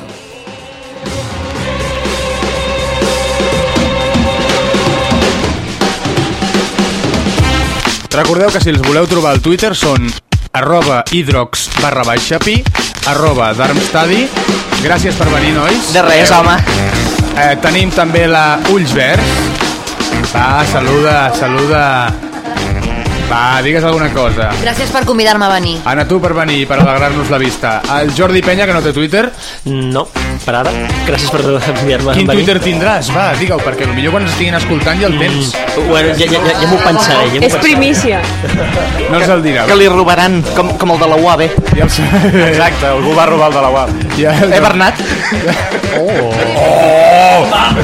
Speaker 1: Recordeu que si els voleu trobar al Twitter són arroba hidrox barra baixa pi, arroba darmstadi. Gràcies per venir, nois.
Speaker 16: De res,
Speaker 1: Adeu.
Speaker 16: home.
Speaker 1: Eh, tenim també la Ulls Verds. Va, saluda, saluda. Va, digues alguna cosa.
Speaker 6: Gràcies per convidar-me a venir.
Speaker 1: Anna, tu per venir i per alegrar-nos la vista. El Jordi Penya, que no té Twitter.
Speaker 10: No, per ara. Gràcies per enviar-me
Speaker 1: Quin Twitter tindràs? Va, digue-ho, perquè potser quan ens estiguin escoltant ja el tens.
Speaker 10: Mm, Bueno, ja, ja, ja, ja m'ho pensaré. Ja m'ho
Speaker 3: És
Speaker 10: pensaré.
Speaker 3: primícia.
Speaker 1: No ens el dirà.
Speaker 16: Que li robaran, com, com el de la UAB.
Speaker 1: Ja el sé.
Speaker 5: Exacte, algú va robar el de la UAB.
Speaker 1: Ja,
Speaker 16: Eh, Bernat?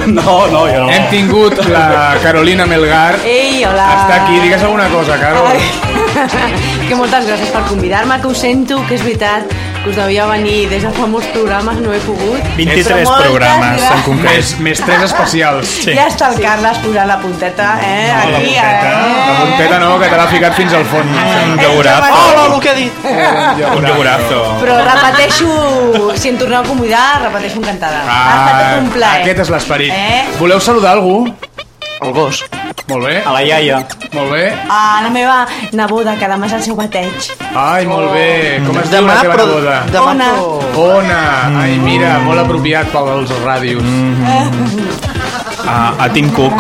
Speaker 5: No, no, jo no.
Speaker 1: Oh! Hem tingut la Carolina Melgar.
Speaker 22: Ei, hola.
Speaker 1: Està aquí, digues alguna cosa, Caro.
Speaker 22: que moltes gràcies per convidar-me, que ho sento, que és veritat que us devia venir des de fa molts programes, no he pogut.
Speaker 2: 23
Speaker 22: Però moltes
Speaker 2: programes, en
Speaker 22: gràcies.
Speaker 2: concret.
Speaker 1: Més, més tres especials.
Speaker 22: Sí. Ja està el Carles posant la punteta, eh?
Speaker 1: Ah, la
Speaker 22: Aquí,
Speaker 1: La punteta no, que te l'ha ficat fins al
Speaker 22: Eh,
Speaker 1: fons. Un
Speaker 22: llaurat.
Speaker 16: Hola, el que he dit.
Speaker 1: Un llaurazo.
Speaker 22: eh? Però repeteixo, si em torneu a convidar, repeteixo encantada. ha estat tot un plaer.
Speaker 1: Ah, Aquest és l'esperit.
Speaker 22: Eh?
Speaker 1: Voleu saludar algú?
Speaker 16: El gos.
Speaker 1: Molt bé.
Speaker 5: A la iaia.
Speaker 1: Molt bé.
Speaker 22: A la meva neboda, que demà és el seu bateig.
Speaker 1: Ai, molt bé. Com es diu
Speaker 22: Demà,
Speaker 1: la teva
Speaker 22: però-
Speaker 1: neboda?
Speaker 22: demà Ona.
Speaker 1: Ona. Ai, mira,
Speaker 22: Mm-hmm.
Speaker 1: molt apropiat pels ràdios.
Speaker 2: A, a Tim Cook.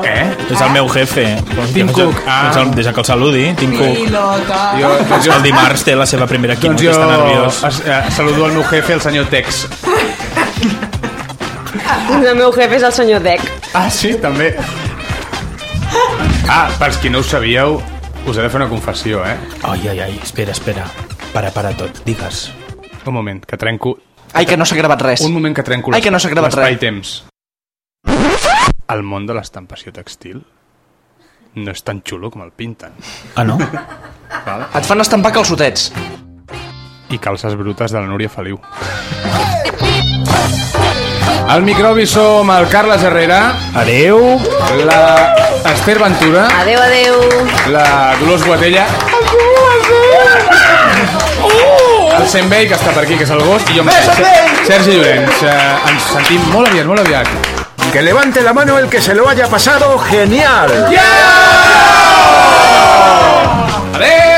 Speaker 1: Què?
Speaker 2: És el meu jefe.
Speaker 1: Tim Cook.
Speaker 2: Ah. Deixa que el saludi, Tim Cook.
Speaker 1: Jo,
Speaker 14: Ah.
Speaker 1: doncs jo,
Speaker 2: El dimarts té la seva primera quinta,
Speaker 1: doncs
Speaker 2: que
Speaker 1: jo
Speaker 2: està nerviós.
Speaker 1: es, eh, saludo al meu jefe, el senyor Tex.
Speaker 3: El meu jefe és el senyor Dec.
Speaker 1: Ah, sí? També. Ah, pels qui no ho sabíeu, us he de fer una confessió, eh?
Speaker 2: Ai, ai, ai, espera, espera. Para, para tot, digues.
Speaker 1: Un moment, que trenco...
Speaker 16: Ai, que no s'ha gravat res.
Speaker 1: Un moment que trenco
Speaker 16: Ai, que no s'ha gravat res.
Speaker 1: temps El món de l'estampació textil no és tan xulo com el pinten.
Speaker 2: Ah, no?
Speaker 1: Val?
Speaker 16: Et fan estampar calçotets.
Speaker 1: I calces brutes de la Núria Feliu. Al microbi som el Carles Herrera.
Speaker 2: Adeu.
Speaker 1: La Esther Ventura.
Speaker 22: Adeu, adeu.
Speaker 1: La Dolors Guatella.
Speaker 22: ¡Uh!
Speaker 1: El Senbei, que està per aquí, que és el gos, i jo mateix, Ser- Sergi Llorenç. Eh, ens sentim molt aviat, molt aviat.
Speaker 6: Que levante la mano el que se lo haya pasado genial.
Speaker 1: Adeu!